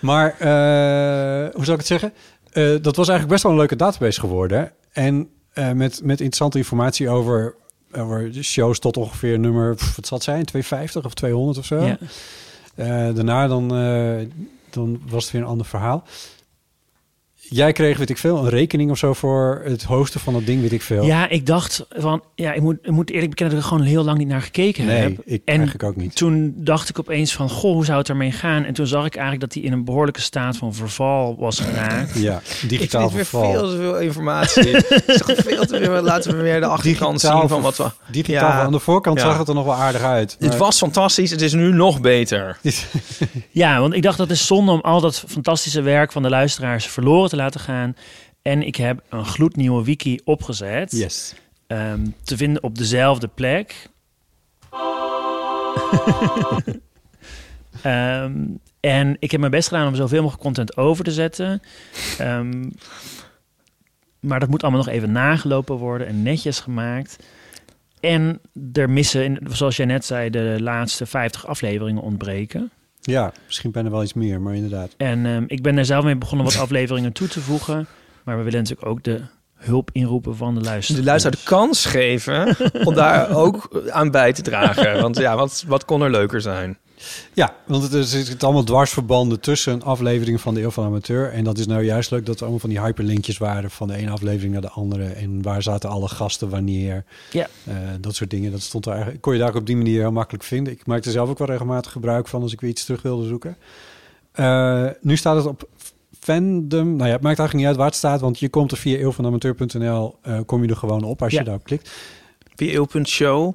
S3: maar eh, hoe zal ik het zeggen? Eh, dat was eigenlijk best wel een leuke database geworden. En eh, met, met interessante informatie over, over de shows tot ongeveer nummer, pff, wat zal het zijn, 250 of 200 of zo.
S4: Ja.
S3: Eh, daarna dan, eh, dan was het weer een ander verhaal. Jij kreeg, weet ik veel, een rekening of zo voor het hosten van dat ding, weet ik veel.
S4: Ja, ik dacht van, ja, ik moet, ik moet eerlijk bekennen dat ik er gewoon heel lang niet naar gekeken
S3: nee,
S4: heb.
S3: ik
S4: en
S3: eigenlijk ook niet.
S4: Toen dacht ik opeens van, goh, hoe zou het ermee gaan? En toen zag ik eigenlijk dat hij in een behoorlijke staat van verval was
S3: [laughs]
S4: geraakt.
S3: Ja, digitaal
S5: ik vind
S3: verval.
S5: weer veel te veel [laughs] informatie. Het is toch veel te veel. Laten we weer de achterkant
S3: Digitaal
S5: zien van wat we...
S3: Digitaal,
S5: Ja.
S3: aan de voorkant
S5: Ja.
S3: zag het er nog wel aardig uit.
S5: Het
S3: maar-
S5: was fantastisch, het is nu nog beter.
S4: Ja, want ik dacht dat is zonde om al dat fantastische werk van de luisteraars verloren te laten gaan. En ik heb een gloednieuwe wiki opgezet.
S3: Yes.
S4: ehm, te vinden op dezelfde
S5: [laughs]
S4: plek. Ehm, en ik heb mijn best gedaan om zoveel mogelijk content over te zetten. Ehm, maar dat moet allemaal nog even nagelopen worden en netjes gemaakt. En er missen, in- zoals jij net zei, de laatste 50 afleveringen ontbreken.
S3: Ja, misschien ben er wel iets meer, maar inderdaad.
S4: En ehm, ik ben daar zelf mee begonnen
S5: [laughs]
S4: wat afleveringen toe te voegen. Maar we willen natuurlijk ook de hulp inroepen van de
S5: Dus de
S4: luisteraars.
S5: luisteraar de kans geven om daar [laughs] ook aan bij te dragen. Want ja, wat, wat kon er leuker zijn?
S3: Ja, want het is, er zitten allemaal dwarsverbanden tussen afleveringen van de Eeuw van de Amateur. En dat is nou juist leuk dat er allemaal van die hyperlinkjes waren van de ene aflevering naar de andere. En waar zaten alle gasten wanneer.
S4: Ja.
S3: Eh, dat soort dingen. Dat stond er eigenlijk, kon je daar ook op die manier heel makkelijk vinden. Ik maakte zelf ook wel regelmatig gebruik van als ik weer iets terug wilde zoeken. Eh, nu staat het op fandom. Nou ja, het maakt eigenlijk niet uit waar het staat, want je komt er via eeuwvanamateur.nl eh kom je er gewoon op als
S4: Ja.
S3: je daarop klikt.
S5: Via eeuw.show.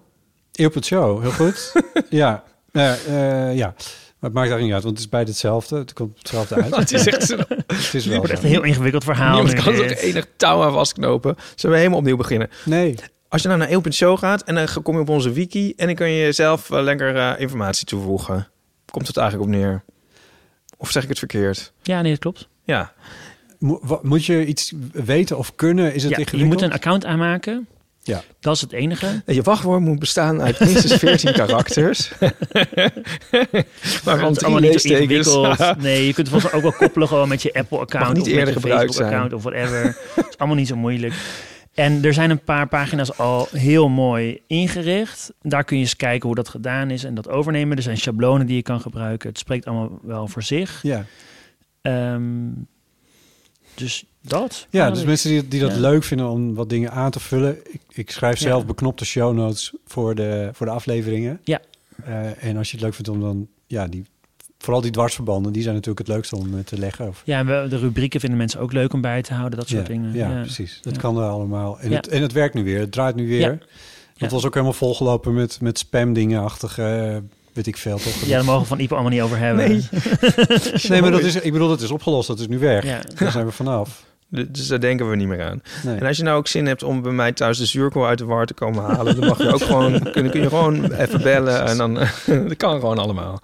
S3: Eeuwpunt Show, heel
S4: [laughs]
S3: goed. ja, nou ja, eh, ja, maar het maakt daar niet uit, want het is beide hetzelfde. Het komt hetzelfde
S4: [laughs]
S3: uit.
S5: Het is echt zo.
S3: het is wel
S4: Het wordt echt
S3: zo.
S4: een heel ingewikkeld verhaal.
S5: Niemand
S4: nu
S5: kan er
S4: dit.
S5: enig touw aan vastknopen. Zullen we helemaal opnieuw beginnen?
S3: Nee,
S5: Als je nou naar eeuw.show gaat en dan kom je op onze wiki... en dan kun je zelf eh, lekker eh, informatie toevoegen. Komt het eigenlijk op neer? Of zeg ik het verkeerd?
S4: Ja, nee, dat klopt.
S5: Ja.
S3: Mo- wa- moet je iets weten of kunnen? Is het
S4: Ja, je
S3: ingewikkeld?
S4: moet een account aanmaken.
S3: Ja.
S4: Dat is het enige.
S5: En Je wachtwoord moet bestaan uit minstens [laughs] 14 karakters. maar
S4: Het
S5: rond
S4: is
S5: drie
S4: allemaal niet zo
S3: [laughs]
S5: leestekens. [laughs]
S4: ingewikkeld. Nee, je kunt het volgens mij ook wel koppelen gewoon met je Apple-account
S5: Mag niet
S4: of met
S5: eerder
S4: je
S5: gebruikt
S4: Facebook-account
S3: [laughs]
S4: of whatever. Het is allemaal niet zo moeilijk. En er zijn een paar pagina's al heel mooi ingericht. Daar kun je eens kijken hoe dat gedaan is en dat overnemen. Er zijn schablonen die je kan gebruiken. Het spreekt allemaal wel voor zich.
S3: Ja,
S4: Ehm, dus dat.
S3: ja
S4: Ah,
S3: dus mensen die, die dat
S4: Ja.
S3: leuk vinden om wat dingen aan te vullen. Ik, ik schrijf
S4: Ja.
S3: zelf beknopte show notes voor de, voor de afleveringen.
S4: Ja.
S3: Eh, en als je het leuk vindt om dan... Ja, die, vooral die dwarsverbanden, die zijn natuurlijk het leukste om eh, te leggen. Of,
S4: Ja, en we- de rubrieken vinden mensen ook leuk om bij te houden. Dat soort
S3: ja,
S4: dingen.
S3: Ja, precies. Dat
S4: Ja.
S3: kan er allemaal. En,
S4: Ja.
S3: het, en het werkt nu weer. Het draait nu weer.
S4: Ja. Ja.
S3: Het was ook helemaal volgelopen met, met spam dingenachtige... Weet ik veel, toch?
S4: Ja, daar mogen we van Ipe allemaal niet over hebben.
S5: Nee.
S3: nee, maar dat is, ik bedoel, dat is opgelost. Dat is nu weg.
S4: Ja.
S3: Daar zijn we vanaf.
S5: Dus daar denken we niet meer aan.
S3: Nee.
S5: [laughs] En als je nou ook zin hebt om bij mij thuis de zuurkool uit de war te komen halen, dan Ah, mag je ook gewoon, kun, kun je gewoon even bellen en dan [laughs] dat kan gewoon allemaal.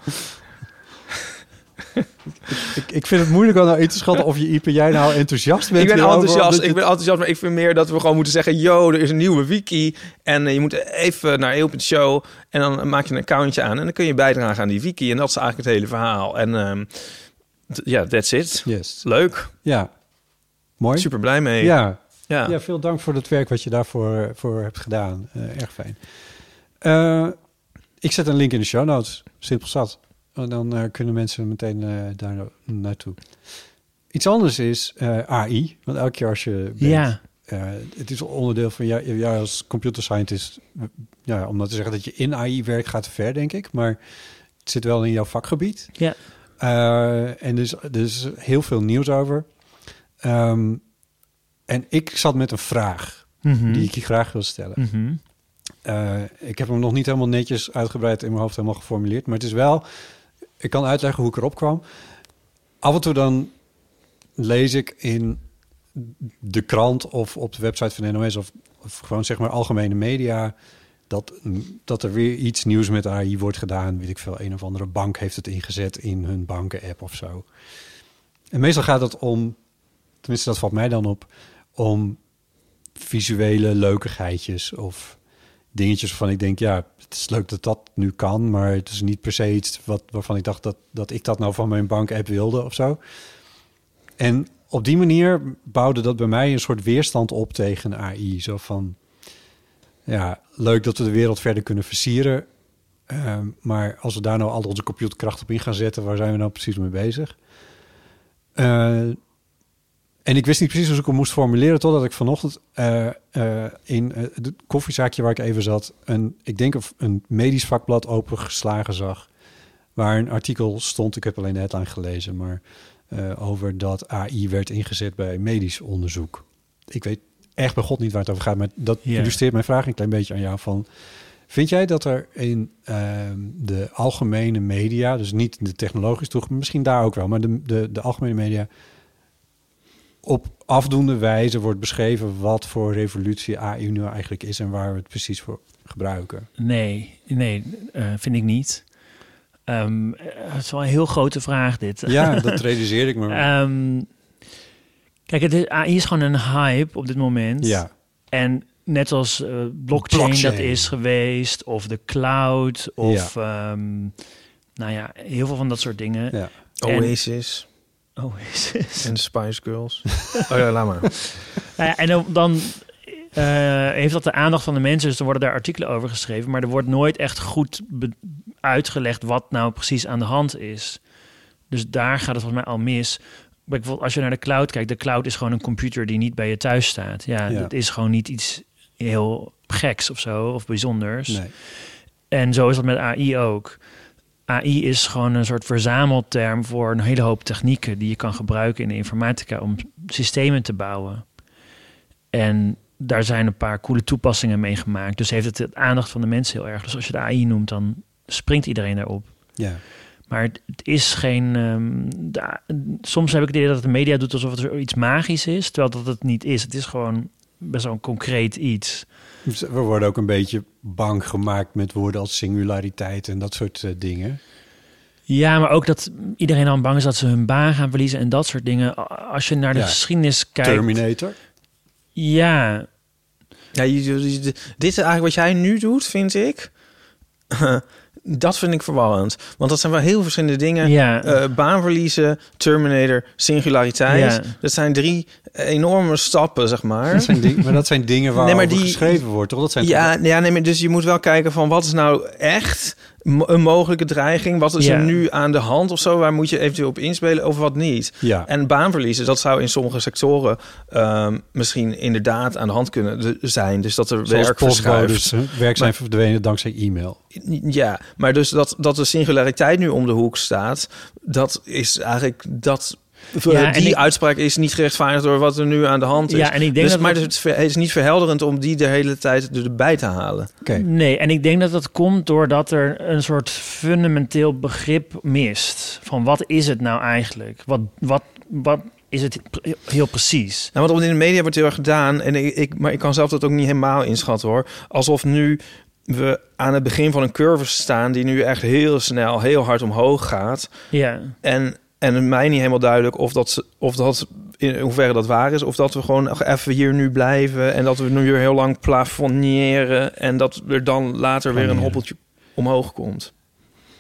S3: Ik, ik vind het moeilijk om nou in te schatten of je Iep en jij nou enthousiast bent.
S5: ik ben
S3: hierover,
S5: enthousiast,
S3: omdat je-
S5: ik ben enthousiast, maar ik vind meer dat we gewoon moeten zeggen, yo, er is een nieuwe wiki en eh, je moet even naar heel.show en dan maak je een accountje aan en dan kun je bijdragen aan die wiki en dat is eigenlijk het hele verhaal. En ehm, t- ja, that's it.
S3: Yes.
S5: Leuk,
S3: Ja. Mooi.
S5: super blij mee.
S3: Ja.
S5: Ja.
S3: Ja. veel dank voor het werk wat je daarvoor eh, voor hebt gedaan. Eh, erg fijn. Eh, ik zet een link in de show notes. Simpel zat. En dan eh, kunnen mensen meteen eh, daar na- naartoe. Iets anders is eh, AI. Want elke keer als je bent,
S4: Ja.
S3: eh, het is onderdeel van jou, jou als computer scientist. Ja, om dat te zeggen dat je in AI werkt gaat te ver, denk ik. Maar het zit wel in jouw vakgebied.
S4: ja.
S3: Eh, en dus, dus heel veel nieuws over. Ehm, en ik zat met een vraag
S4: Mhm.
S3: die ik je graag wil stellen.
S4: Mhm.
S3: Eh, ik heb hem nog niet helemaal netjes uitgebreid in mijn hoofd helemaal geformuleerd. Maar het is wel, ik kan uitleggen hoe ik erop kwam. Af en toe dan lees ik in de krant of op de website van de NOS... of, of gewoon zeg maar algemene media... Dat, dat er weer iets nieuws met AI wordt gedaan. Weet ik veel, een of andere bank heeft het ingezet in hun banken-app of zo. En meestal gaat het om, tenminste dat valt mij dan op... om visuele leukigheidjes of dingetjes waarvan ik denk, ja, het is leuk dat dat nu kan, maar het is niet per se iets wat, waarvan ik dacht dat, dat ik dat nou van mijn bank-app wilde of zo. En op die manier bouwde dat bij mij een soort weerstand op tegen AI. Zo van, ja, leuk dat we de wereld verder kunnen versieren, ehm, maar als we daar nou al onze computerkracht op in gaan zetten, waar zijn we nou precies mee bezig? Eh, en ik wist niet precies hoe ik hem moest formuleren, totdat ik vanochtend eh, eh, in eh, het koffiezaakje waar ik even zat, een, ik denk een, een medisch vakblad opengeslagen zag. Waar een artikel stond, ik heb alleen de headline gelezen, maar eh, over dat AI werd ingezet bij medisch onderzoek. Ik weet echt bij God niet waar het over gaat, maar dat
S4: Ja.
S3: illustreert mijn vraag een klein beetje aan jou. Van, vind jij dat er in ehm, de algemene media, dus niet de technologisch toch, misschien daar ook wel, maar de, de, de algemene media, op afdoende wijze wordt beschreven wat voor revolutie AI nu eigenlijk is en waar we het precies voor gebruiken.
S4: Nee, nee, eh, vind ik niet. Ehm, eh, het is wel een heel grote vraag dit.
S3: Ja, dat realiseer ik
S4: [laughs]
S3: me.
S4: Ehm, kijk, het is, AI is gewoon een hype op dit moment.
S3: ja,
S4: En net als eh, blockchain,
S3: Blockchain.
S4: dat is geweest, of de cloud, of ehm, nou ja, heel veel van dat soort dingen.
S3: ja.
S5: Oasis
S4: Oh, [laughs] jezus.
S5: en Spice Girls. [laughs] Oh ja, laat maar.
S4: Nou ja, en dan, dan eh, heeft dat de aandacht van de mensen, dus er worden daar artikelen over geschreven, maar er wordt nooit echt goed be- uitgelegd wat nou precies aan de hand is. Dus daar gaat het volgens mij al mis. Bijvoorbeeld als je naar de cloud kijkt, de cloud is gewoon een computer die niet bij je thuis staat. Ja,
S3: Ja.
S4: dat is gewoon niet iets heel geks of zo, of bijzonders.
S3: Nee.
S4: En zo is dat met AI ook. AI is gewoon een soort verzamelterm voor een hele hoop technieken die je kan gebruiken in de informatica om systemen te bouwen. En daar zijn een paar coole toepassingen mee gemaakt. Dus heeft het de aandacht van de mensen heel erg. Dus als je de AI noemt, dan springt iedereen daarop.
S3: ja.
S4: Maar het, het is geen. ehm, da- soms heb ik het idee dat de media doet alsof het iets magisch is, terwijl dat het niet is. Het is gewoon best wel een concreet iets.
S3: We worden ook een beetje bang gemaakt met woorden als singulariteit en dat soort eh, dingen.
S4: Ja, maar ook dat iedereen dan bang is dat ze hun baan gaan verliezen en dat soort dingen. A- Als je naar de
S3: Ja.
S4: geschiedenis kijkt.
S3: Terminator.
S4: Ja,
S5: Ja, je- je- je- dit is eigenlijk wat jij nu doet, vind ik. [laughs] dat vind ik verwarrend. Want dat zijn wel heel verschillende dingen.
S4: Ja.
S5: Eh, baan verliezen, Terminator, singulariteit.
S4: Ja.
S5: Dat zijn drie enorme stappen, zeg maar.
S3: Dat zijn dingen, maar dat zijn dingen waar
S5: Nee, maar die-
S3: geschreven wordt, toch? Dat zijn
S5: Ja, ja nee, maar dus je moet wel kijken van wat is nou echt mo- een mogelijke dreiging? Wat is
S4: Ja.
S5: er nu aan de hand of zo? Waar moet je eventueel op inspelen of wat niet?
S3: Ja.
S5: En baanverliezen, dat zou in sommige sectoren ehm, misschien inderdaad aan de hand kunnen de- zijn. Dus dat er
S3: Zoals
S5: werk verschuift.
S3: postbodes, hè, werk zijn verdwenen dankzij e-mail.
S5: Ja, maar dus dat, dat de singulariteit nu om de hoek staat, dat is eigenlijk dat.
S4: Ja, en
S5: die
S4: ik-
S5: uitspraak is niet gerechtvaardigd door wat er nu aan de hand is.
S4: Ja, en ik denk
S5: dus,
S4: dat
S5: maar
S4: dat-
S5: het is ver- het is niet verhelderend om die de hele tijd er- erbij te halen.
S3: Oké.
S4: nee. En ik denk dat dat komt doordat er een soort fundamenteel begrip mist. Van wat is het nou eigenlijk? Wat, wat, wat is het pre- heel precies?
S5: Nou, want in de media wordt heel erg gedaan, en ik, ik, maar ik kan zelf dat ook niet helemaal inschatten hoor. Alsof nu we aan het begin van een curve staan die nu echt heel snel, heel hard omhoog gaat.
S4: Ja.
S5: En, en mij niet helemaal duidelijk of dat, ze- of dat in hoeverre dat waar is. Of dat we gewoon nog even hier nu blijven en dat we nu weer heel lang plafonneren. En dat er dan later weer een
S3: Plafonneren.
S5: hoppeltje omhoog komt.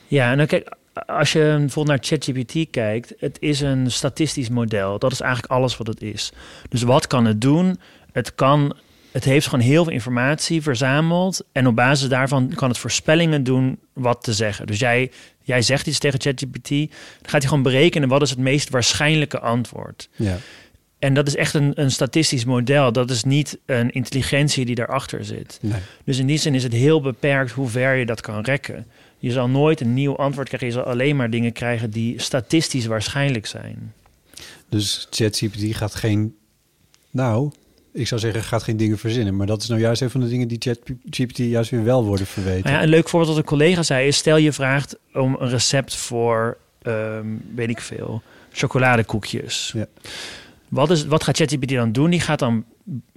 S4: Ja, en dan kijk, als je bijvoorbeeld naar ChatGPT kijkt, het is een statistisch model. Dat is eigenlijk alles wat het is. Dus wat kan het doen? Het kan, het heeft gewoon heel veel informatie verzameld en op basis daarvan kan het voorspellingen doen wat te zeggen. Dus jij, jij zegt iets tegen ChatGPT, dan gaat hij gewoon berekenen wat is het meest waarschijnlijke antwoord.
S3: Ja.
S4: En dat is echt een, een statistisch model. Dat is niet een intelligentie die daarachter zit.
S3: Nee.
S4: Dus in die zin is het heel beperkt hoe ver je dat kan rekken. Je zal nooit een nieuw antwoord krijgen. Je zal alleen maar dingen krijgen die statistisch waarschijnlijk zijn.
S3: Dus ChatGPT gaat geen... Nou, ik zou zeggen, gaat geen dingen verzinnen. Maar dat is nou juist een van de dingen die ChatGPT juist weer wel worden verweten.
S4: Nou ja, een leuk voorbeeld dat een collega zei is... stel je vraagt om een recept voor, ehm, weet ik veel, chocoladekoekjes.
S3: Ja.
S4: Wat, is, wat gaat ChatGPT dan doen? Die gaat dan,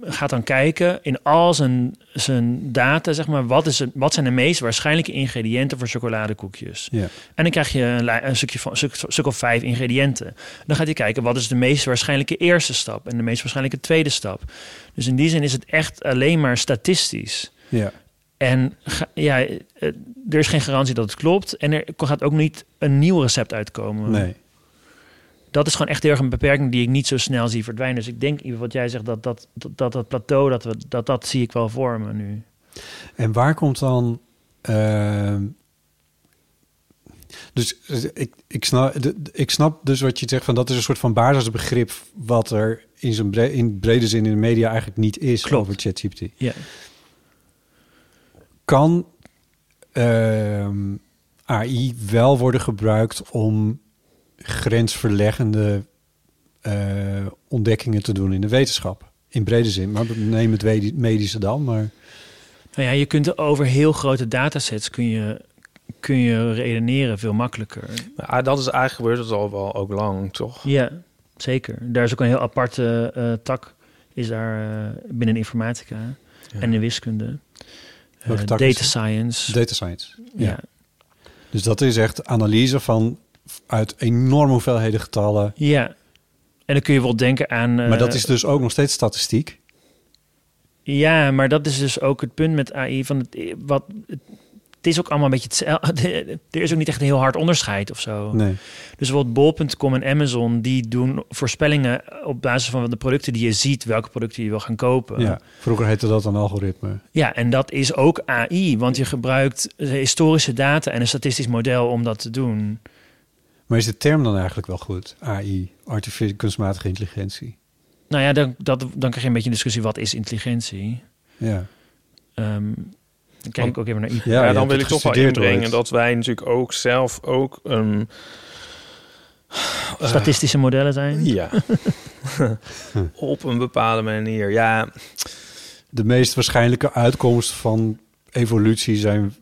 S4: gaat dan kijken in al zijn, zijn data, zeg maar... Wat, is het, wat zijn de meest waarschijnlijke ingrediënten voor chocoladekoekjes?
S3: Ja.
S4: En dan krijg je een, li- een stukje van, stuk, stuk of vijf ingrediënten. Dan gaat hij kijken wat is de meest waarschijnlijke eerste stap en de meest waarschijnlijke tweede stap. Dus in die zin is het echt alleen maar statistisch.
S3: ja.
S4: En ga- ja, eh, er is geen garantie dat het klopt. En er gaat ook niet een nieuw recept uitkomen.
S3: Nee.
S4: Dat is gewoon echt heel erg een beperking die ik niet zo snel zie verdwijnen. Dus ik denk, Ivo, wat jij zegt, dat dat, dat, dat, dat plateau, dat, we, dat, dat zie ik wel voor me nu.
S3: En waar komt dan. ehm, dus eh, ik, ik, snap, de- de- ik snap dus wat je zegt van dat is een soort van basisbegrip. wat er in, zijn bre- in brede zin in de media eigenlijk niet is
S4: Klopt.
S3: over ChatGPT.
S4: Ja.
S3: Kan ehm, AI wel worden gebruikt om grensverleggende eh, ontdekkingen te doen in de wetenschap? In brede zin, maar neem het wedi- medische dan. Maar
S4: Nou ja, je kunt over heel grote datasets kun je, kun je redeneren veel makkelijker.
S5: Maar dat is eigenlijk gebeurd, dat is al wel ook lang, toch?
S4: Ja, zeker. Daar is ook een heel aparte eh, tak is daar eh, binnen informatica en de wiskunde. Eh,
S3: Welke tak
S4: data
S3: is dat?
S4: science.
S3: data science.
S4: ja.
S3: ja. Dus dat is echt analyse van uit enorme hoeveelheden getallen.
S4: ja. En dan kun je wel denken aan... eh,
S3: maar dat is dus ook nog steeds statistiek.
S4: Ja, maar dat is dus ook het punt met AI. Van het, eh, wat, het, het is ook allemaal een beetje [laughs] hetzelfde. Er is ook niet echt een heel hard onderscheid of
S5: Oh.
S4: zo.
S3: Nee.
S4: Dus bijvoorbeeld bol.com en Amazon... die doen voorspellingen op basis van de producten die je ziet... welke producten je wil gaan
S5: Eh.
S4: kopen.
S3: Ja. Vroeger heette dat een algoritme.
S4: Ja, en dat is ook AI, want je gebruikt eh, historische data en een statistisch model om dat te doen.
S3: Maar is de term dan eigenlijk wel goed? AI, artificiële kunstmatige intelligentie.
S4: Nou ja, dan, dat, dan krijg je een beetje een discussie, wat is intelligentie?
S3: Ja.
S4: Ehm dan kijk ik ook even naar Ivo.
S5: Ja,
S3: je
S5: dan
S3: hebt
S5: wil
S3: het
S5: ik toch wel
S3: gestudeerd
S5: inbrengen
S3: ooit.
S5: dat wij natuurlijk ook zelf ook... ehm, een
S4: Statistische modellen zijn.
S5: ja. [laughs] Op een bepaalde manier, ja.
S3: De meest waarschijnlijke uitkomst van evolutie zijn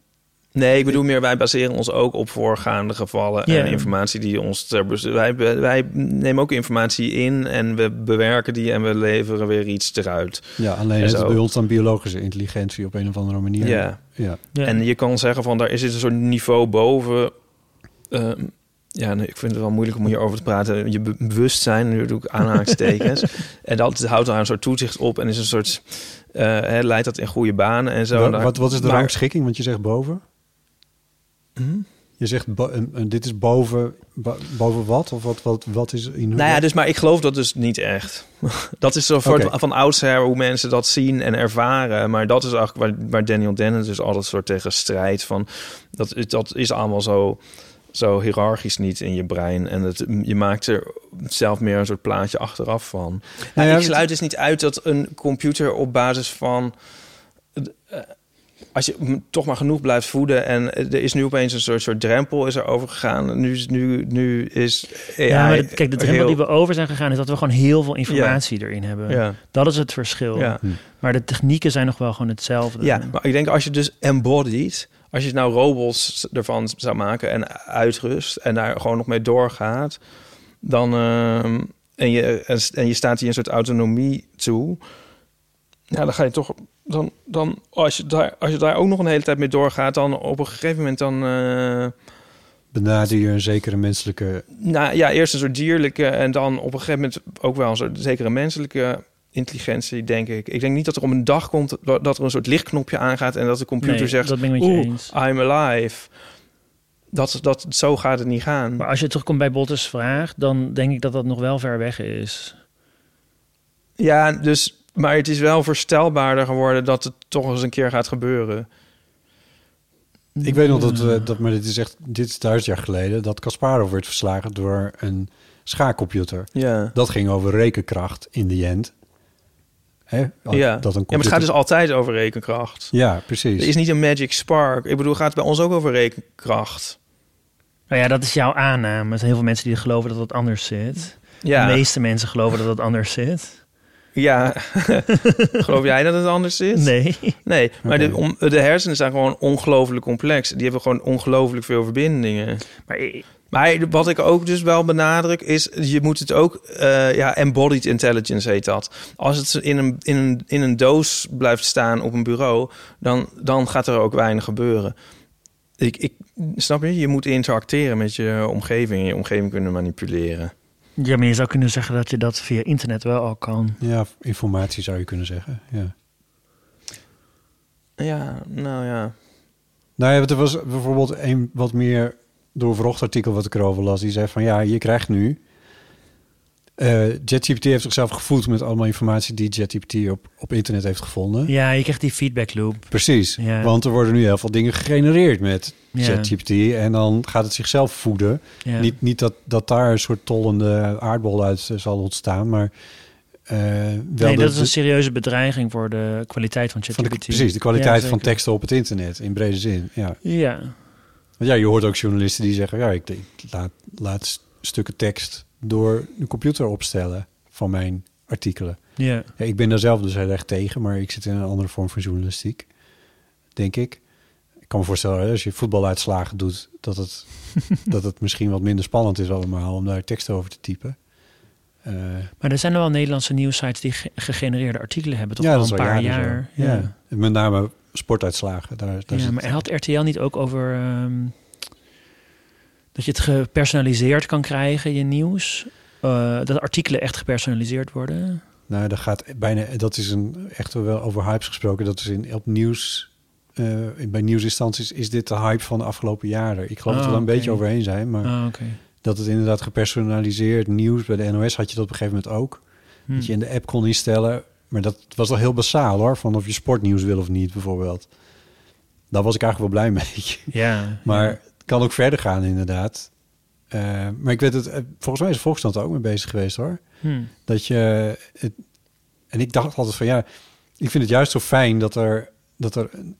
S5: Nee, ik bedoel meer, wij baseren ons ook op voorgaande gevallen
S4: Ja.
S5: en informatie die ons ter bes- wij, be- wij nemen ook informatie in en we bewerken die en we leveren weer iets eruit.
S3: Ja, alleen
S5: En
S3: het
S5: zo.
S3: behulp aan biologische intelligentie op een of andere manier.
S5: Ja.
S3: ja.
S4: Ja.
S5: En je kan zeggen van, daar is het een soort niveau boven. Ehm, ja, nee, ik vind het wel moeilijk om hierover te praten. Je be- bewustzijn, nu doe ik
S3: [laughs]
S5: aanhalingstekens. en dat houdt daar een soort toezicht op en is een soort... eh, hè, leidt dat in goede banen en zo.
S3: Wa-
S5: Daar-
S3: wat, wat is de
S5: maar- Hm?
S3: rangschikking? Want je zegt boven. Je zegt, bo- en- en dit is boven, bo- boven wat? Of wat, wat, wat is in
S5: Nou ja, dus, maar ik geloof dat dus niet echt. [laughs] Dat is zo
S3: Oké.
S5: van oudsher hoe mensen dat zien en ervaren. Maar dat is eigenlijk waar, waar Daniel Dennett dus altijd soort tegen strijdt. Van, dat, is- dat is allemaal zo, zo hiërarchisch niet in je brein. En het, je maakt er zelf meer een soort plaatje achteraf van.
S3: Nou ja,
S5: ik
S3: het-
S5: sluit dus niet uit dat een computer op basis van... eh, als je m- toch maar genoeg blijft voeden en eh, er is nu opeens een soort, soort drempel is er overgegaan. Nu, is- nu, nu is AI
S4: Ja, maar dat- kijk, de drempel
S5: heel-
S4: die we over zijn gegaan is dat we gewoon heel veel informatie erin hebben.
S5: Ja.
S4: Dat is het verschil.
S5: Ja.
S4: Maar de technieken zijn nog wel gewoon hetzelfde.
S5: ja, maar ik denk als je dus embodied, als je nou robots ervan zou maken en uitrust en daar gewoon nog mee doorgaat, dan ehm, en, je, en, en je staat hier een soort autonomie toe, ja, dan ga je toch dan, dan als, je daar, als je daar ook nog een hele tijd mee doorgaat, dan op een gegeven moment dan. eh,
S3: benader je een zekere menselijke...
S5: nou ja, eerst een soort dierlijke en dan op een gegeven moment ook wel een soort zekere menselijke intelligentie, denk ik. Ik denk niet dat er om een dag komt dat dat er een soort lichtknopje aangaat en dat de computer
S4: Nee,
S5: zegt,
S4: dat ben ik met je
S5: "Oeh,
S4: eens."
S5: I'm alive. Dat, dat, zo gaat het niet gaan.
S4: Maar als je terugkomt bij Bottes vraag, dan denk ik dat dat nog wel ver weg is.
S5: Ja, dus, maar het is wel voorstelbaarder geworden dat het toch eens een keer gaat gebeuren.
S3: Ik weet nog dat, we, dat maar dit is echt dit is duizend jaar geleden... dat Kasparov werd verslagen door een schaakcomputer.
S5: Ja.
S3: Dat ging over rekenkracht in de end. Hè?
S5: Ja. ja,
S3: Oh, Dat een
S5: maar het gaat dus
S3: computer-
S5: altijd over rekenkracht.
S3: Ja,
S5: Er
S3: precies.
S5: is niet een magic spark. Ik bedoel, gaat het bij ons ook over rekenkracht?
S4: Nou ja, dat is jouw aanname. Er zijn heel veel mensen die geloven dat dat anders zit.
S5: Ja.
S4: De meeste mensen geloven dat dat anders zit.
S5: Ja, [laughs] geloof jij dat het anders is?
S4: Nee.
S5: Nee, maar de, om, de hersenen zijn gewoon ongelooflijk complex. Die hebben gewoon ongelooflijk veel verbindingen.
S4: Maar ik-
S5: Maar wat ik ook dus wel benadruk is... je moet het ook... eh, ja, embodied intelligence heet dat. Als het in een, in, een, in een doos blijft staan op een bureau... dan, dan gaat er ook weinig gebeuren. Ik, ik, snap je? Je moet interacteren met je omgeving... en je omgeving kunnen manipuleren.
S4: ja, maar je zou kunnen zeggen dat je dat via internet wel al kan.
S3: Ja, informatie zou je kunnen zeggen, ja.
S5: Ja, nou ja.
S3: Nou ja, want er was bijvoorbeeld een wat meer doorverrocht artikel wat ik erover las. Die zei van ja, je krijgt nu... eh, JetGPT heeft zichzelf gevoed met allemaal informatie die JetGPT op, op internet heeft gevonden.
S4: Ja, je krijgt die feedback loop.
S3: Precies,
S4: Ja.
S3: want er worden nu heel veel dingen gegenereerd met
S4: Ja.
S3: ChatGPT en dan gaat het zichzelf voeden.
S4: Ja.
S3: Niet, niet dat, dat daar een soort tollende aardbol uit eh, zal ontstaan, maar eh, wel de-
S4: nee, dat is
S3: de-
S4: een serieuze bedreiging voor de kwaliteit van
S3: van de,
S4: ChatGPT.
S3: precies, de kwaliteit
S4: Ja,
S3: van
S4: zeker.
S3: teksten op het internet in brede zin. Ja.
S4: Ja.
S3: Want ja, je hoort ook journalisten die zeggen: ja, ik, ik laat, laat s- stukken tekst door de computer opstellen van mijn artikelen.
S4: Ja.
S3: Ja, ik ben daar zelf dus heel erg tegen, maar ik zit in een andere vorm van journalistiek, denk ik. Ik kan me voorstellen, hè, als je voetbaluitslagen doet, dat
S4: [laughs]
S3: het, dat het misschien wat minder spannend is allemaal om daar teksten over te typen. Eh,
S4: Maar er zijn wel Nederlandse nieuwsites die ge- gegenereerde artikelen hebben, toch al
S3: is
S4: een
S3: al
S4: paar
S3: jaren
S4: jaar.
S3: zo. Ja. Met name sportuitslagen. Daar, daar
S4: Ja,
S3: zit-
S4: maar had RTL niet ook over ehm, dat je het gepersonaliseerd kan krijgen, je nieuws? Eh, dat artikelen echt gepersonaliseerd worden?
S3: Nou, dat gaat bijna. Dat is een echt wel over hypes gesproken. Dat is in op nieuws. eh, bij nieuwsinstanties is dit de hype van de afgelopen jaren. Ik geloof dat we
S4: Oh,
S3: er een
S4: oké.
S3: beetje overheen zijn, maar
S4: Ah, oké.
S3: dat het inderdaad gepersonaliseerd nieuws bij de NOS had je dat op een gegeven moment ook. Dat je in de app kon instellen, maar dat was al heel basaal hoor, van of je sportnieuws wil of niet bijvoorbeeld. Daar was ik eigenlijk wel blij mee. [laughs]
S4: Ja.
S3: Maar het kan ook verder gaan, inderdaad. Eh, maar ik weet het, eh, volgens mij is de Volkskrant er ook mee bezig geweest hoor.
S4: Hmm.
S3: Dat je. Het, en ik dacht altijd van ja, ik vind het juist zo fijn dat er, dat er een,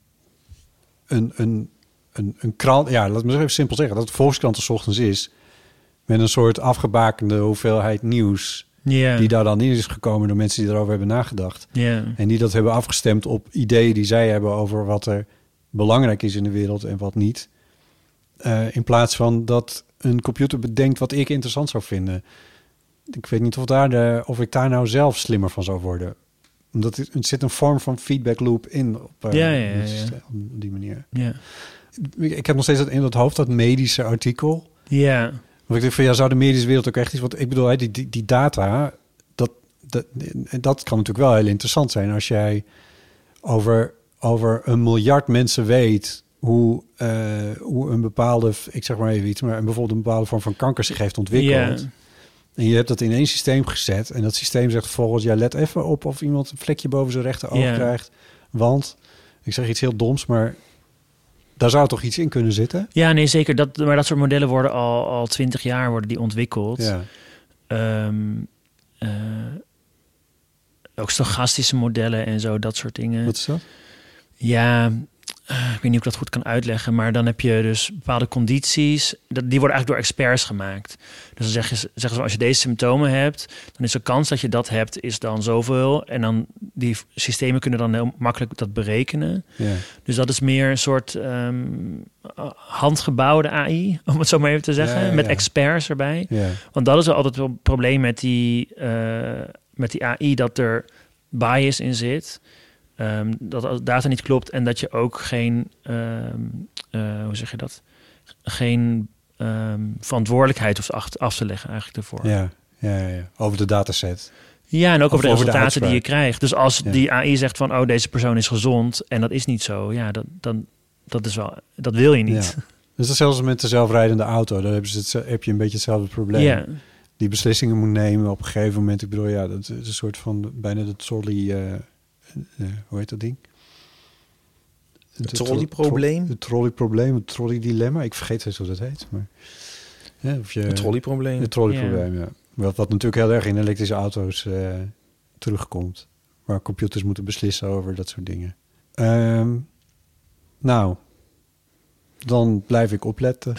S3: een, een, een, een krant. Ja, laat me zo even simpel zeggen. Dat de Volkskrant er 's ochtends is. Met een soort afgebakende hoeveelheid nieuws.
S4: Ja.
S3: Die daar dan in is gekomen door mensen die erover hebben nagedacht.
S4: Ja.
S3: En die dat hebben afgestemd op ideeën die zij hebben over wat er belangrijk is in de wereld en wat niet. Eh, in plaats van dat een computer bedenkt wat ik interessant zou vinden. Ik weet niet of, daar de, of ik daar nou zelf slimmer van zou worden. Omdat het, er zit een vorm van feedback loop in op, eh,
S4: Ja, ja, ja,
S3: op
S4: ja.
S3: die- op die manier.
S4: Ja.
S3: Ik, ik heb nog steeds dat in dat hoofd dat medische artikel.
S4: Ja.
S3: Want ik denk van ja, zou de medische wereld ook echt iets? Want ik bedoel, hè, die, die, die data, dat, dat, dat kan natuurlijk wel heel interessant zijn als jij over, over een miljard mensen weet hoe, eh, hoe een bepaalde, ik zeg maar even iets, maar een- bijvoorbeeld een bepaalde vorm van kanker zich heeft ontwikkeld.
S4: Ja.
S3: En je hebt dat in één systeem gezet en dat systeem zegt volgens jij let even op of iemand een vlekje boven zijn rechteroog
S4: Ja.
S3: krijgt. Want, ik zeg iets heel doms, maar daar zou toch iets in kunnen zitten?
S4: Ja, nee, zeker. Dat, maar dat soort modellen worden al, al 20 jaar worden die ontwikkeld.
S3: Ja.
S4: Ehm, eh, ook stochastische modellen en zo, dat soort dingen.
S3: Wat is dat?
S4: Ja, eh, ik weet niet of ik dat goed kan uitleggen. Maar dan heb je dus bepaalde condities. Dat, die worden eigenlijk door experts gemaakt. Dus dan zeggen ze, zeggen ze, als je deze symptomen hebt... dan is de kans dat je dat hebt, is dan zoveel. En dan die f- systemen kunnen dan heel makkelijk dat berekenen.
S3: Ja.
S4: Dus dat is meer een soort ehm, handgebouwde AI, [laughs] om het zo maar even te zeggen.
S3: Ja, ja,
S4: Met
S3: ja.
S4: experts erbij.
S3: Ja.
S4: Want dat is wel altijd wel het probleem met die, eh, met die AI, dat er bias in zit. Ehm, dat als data niet klopt en dat je ook geen, ehm, eh, hoe zeg je dat? Geen ehm, verantwoordelijkheid hoeft af, af te leggen eigenlijk ervoor.
S3: Ja, ja, ja, ja. Over de dataset.
S4: Ja, en ook
S3: Of
S4: over de
S3: over de
S4: resultaten die je
S3: uitspraak.
S4: krijgt. Dus als
S3: Ja.
S4: die AI zegt van, oh, deze persoon is gezond en dat is niet zo, ja, dat, dan, dat is wel, dat wil je niet.
S3: Ja. Dus dat is zelfs met de zelfrijdende auto. Daar hebben ze het, zo- heb je een beetje hetzelfde probleem.
S4: [laughs] Ja.
S3: Die beslissingen moet nemen op een gegeven moment. Ik bedoel, ja, dat is een soort van bijna de trolley... eh, eh, hoe heet dat ding? Het
S5: trolleyprobleem?
S3: Het trolleyprobleem, het trolleydilemma. Ik vergeet steeds hoe dat heet. Maar, ja, of je,
S5: Een trolleyprobleem.
S3: Het trolleyprobleem, ja. Wat, wat natuurlijk heel erg in elektrische auto's eh, terugkomt. Waar computers moeten beslissen over dat soort dingen. Ehm, nou, dan blijf ik opletten.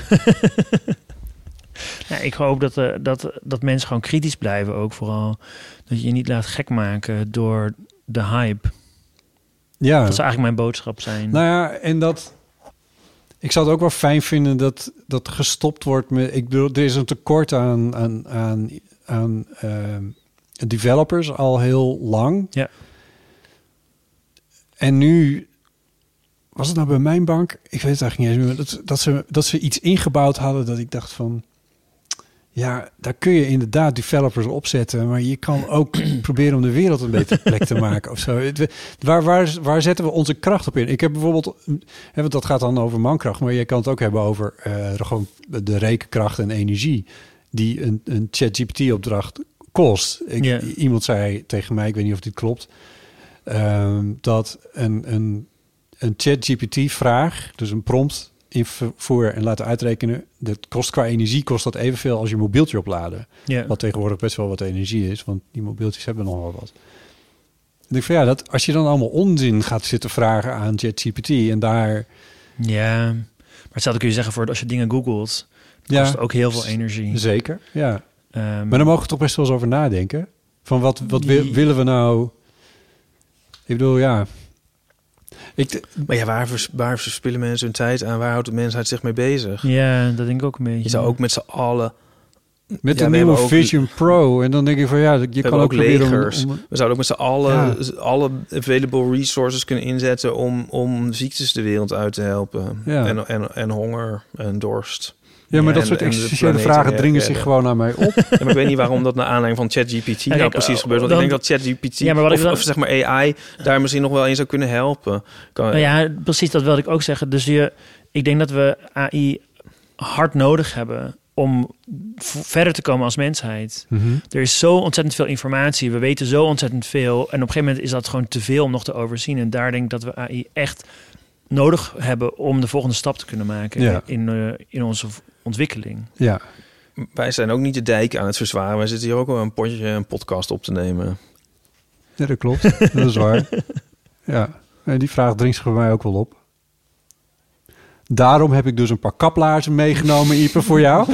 S4: Ja, ik hoop dat, eh, dat, dat mensen gewoon kritisch blijven ook vooral. Dat je je niet laat gek maken door de hype.
S3: ja.
S4: Dat zou eigenlijk mijn boodschap zijn.
S3: Nou ja, en dat... Ik zou het ook wel fijn vinden dat, dat gestopt wordt met... Ik bedoel, er is een tekort aan, aan, aan, aan ehm, developers al heel lang.
S4: Ja.
S3: En nu... Was het nou bij mijn bank? Ik weet het eigenlijk niet eens meer. Dat, dat, ze, dat ze iets ingebouwd hadden dat ik dacht van... Ja, daar kun je inderdaad developers opzetten, maar je kan ook [clears throat] proberen om de wereld een betere plek te maken of zo. Het- we- Waar, waar, waar zetten we onze kracht op in? Ik heb bijvoorbeeld, hè, want dat gaat dan over mankracht, maar je kan het ook hebben over eh, gewoon de rekenkracht en energie die een, een ChatGPT-opdracht kost. Ik,
S4: Ja.
S3: Iemand zei tegen mij, ik weet niet of dit klopt, ehm, dat een, een, een ChatGPT-vraag, dus een prompt invoer en laten uitrekenen, dat kost qua energie kost dat evenveel als je mobieltje opladen.
S4: ja.
S3: Wat tegenwoordig best wel wat energie is, want die mobieltjes hebben nogal wat. En ik van ja, dat, als je dan allemaal onzin gaat zitten vragen aan ChatGPT en daar.
S4: ja, maar hetzelfde kun je zeggen voor als je dingen googelt. Dat kost ook heel veel energie.
S3: Zeker. Ja.
S4: Ehm,
S3: dus- Maar daar mogen we toch best wel eens over nadenken. Van wat, wat wi-
S4: Die-
S3: willen we nou? Ik bedoel, ja. Ik,
S5: Maar ja, waar, vers- waar verspillen mensen hun tijd aan? Waar houdt de mensheid zich mee bezig?
S4: ja, dat denk ik ook een beetje.
S5: Je zou ook met z'n allen...
S3: met
S5: Ja,
S3: de
S5: we
S3: nieuwe
S5: hebben ook-
S3: Vision Pro. En dan denk ik van ja, je kan
S5: hebben
S3: ook
S5: ook
S3: proberen om-
S5: legers.
S3: om-
S5: We zouden ook met z'n allen
S3: Ja.
S5: alle available resources kunnen inzetten... om, om ziektes de wereld uit te helpen.
S3: Ja.
S5: En, en, en honger en dorst.
S3: ja, maar
S5: Ja,
S3: dat
S5: en-
S3: soort
S5: en de
S3: existentiële
S5: planeten
S3: vragen dringen zich
S5: redden.
S3: gewoon aan mij op.
S5: Ja, maar ik weet niet waarom dat naar aanleiding van ChatGPT nou
S4: kijk,
S5: precies
S4: eh,
S5: gebeurt. Want
S4: dan-
S5: ik denk dat ChatGPT
S4: Ja, maar wat ik
S5: of,
S4: dan-
S5: of zeg maar AI daar misschien nog wel in zou kunnen helpen. Kan,
S4: Nou ja, precies dat wilde ik ook zeggen. Dus je, ik denk dat we AI hard nodig hebben om v- verder te komen als mensheid.
S5: [laughs]
S4: Er is zo ontzettend veel informatie. We weten zo ontzettend veel. En op een gegeven moment is dat gewoon te veel om nog te overzien. En daar denk ik dat we AI echt nodig hebben om de volgende stap te kunnen maken
S3: Ja.
S4: in, eh, in onze v- ontwikkeling.
S3: Ja.
S5: Wij zijn ook niet de dijk aan het verzwaren. Wij zitten hier ook wel een potje een podcast op te nemen.
S3: Ja, dat klopt. dat is waar. Ja, en die vraag dringt zich bij mij ook wel op. Daarom heb ik dus een paar kaplaarzen meegenomen, Ipe, voor jou.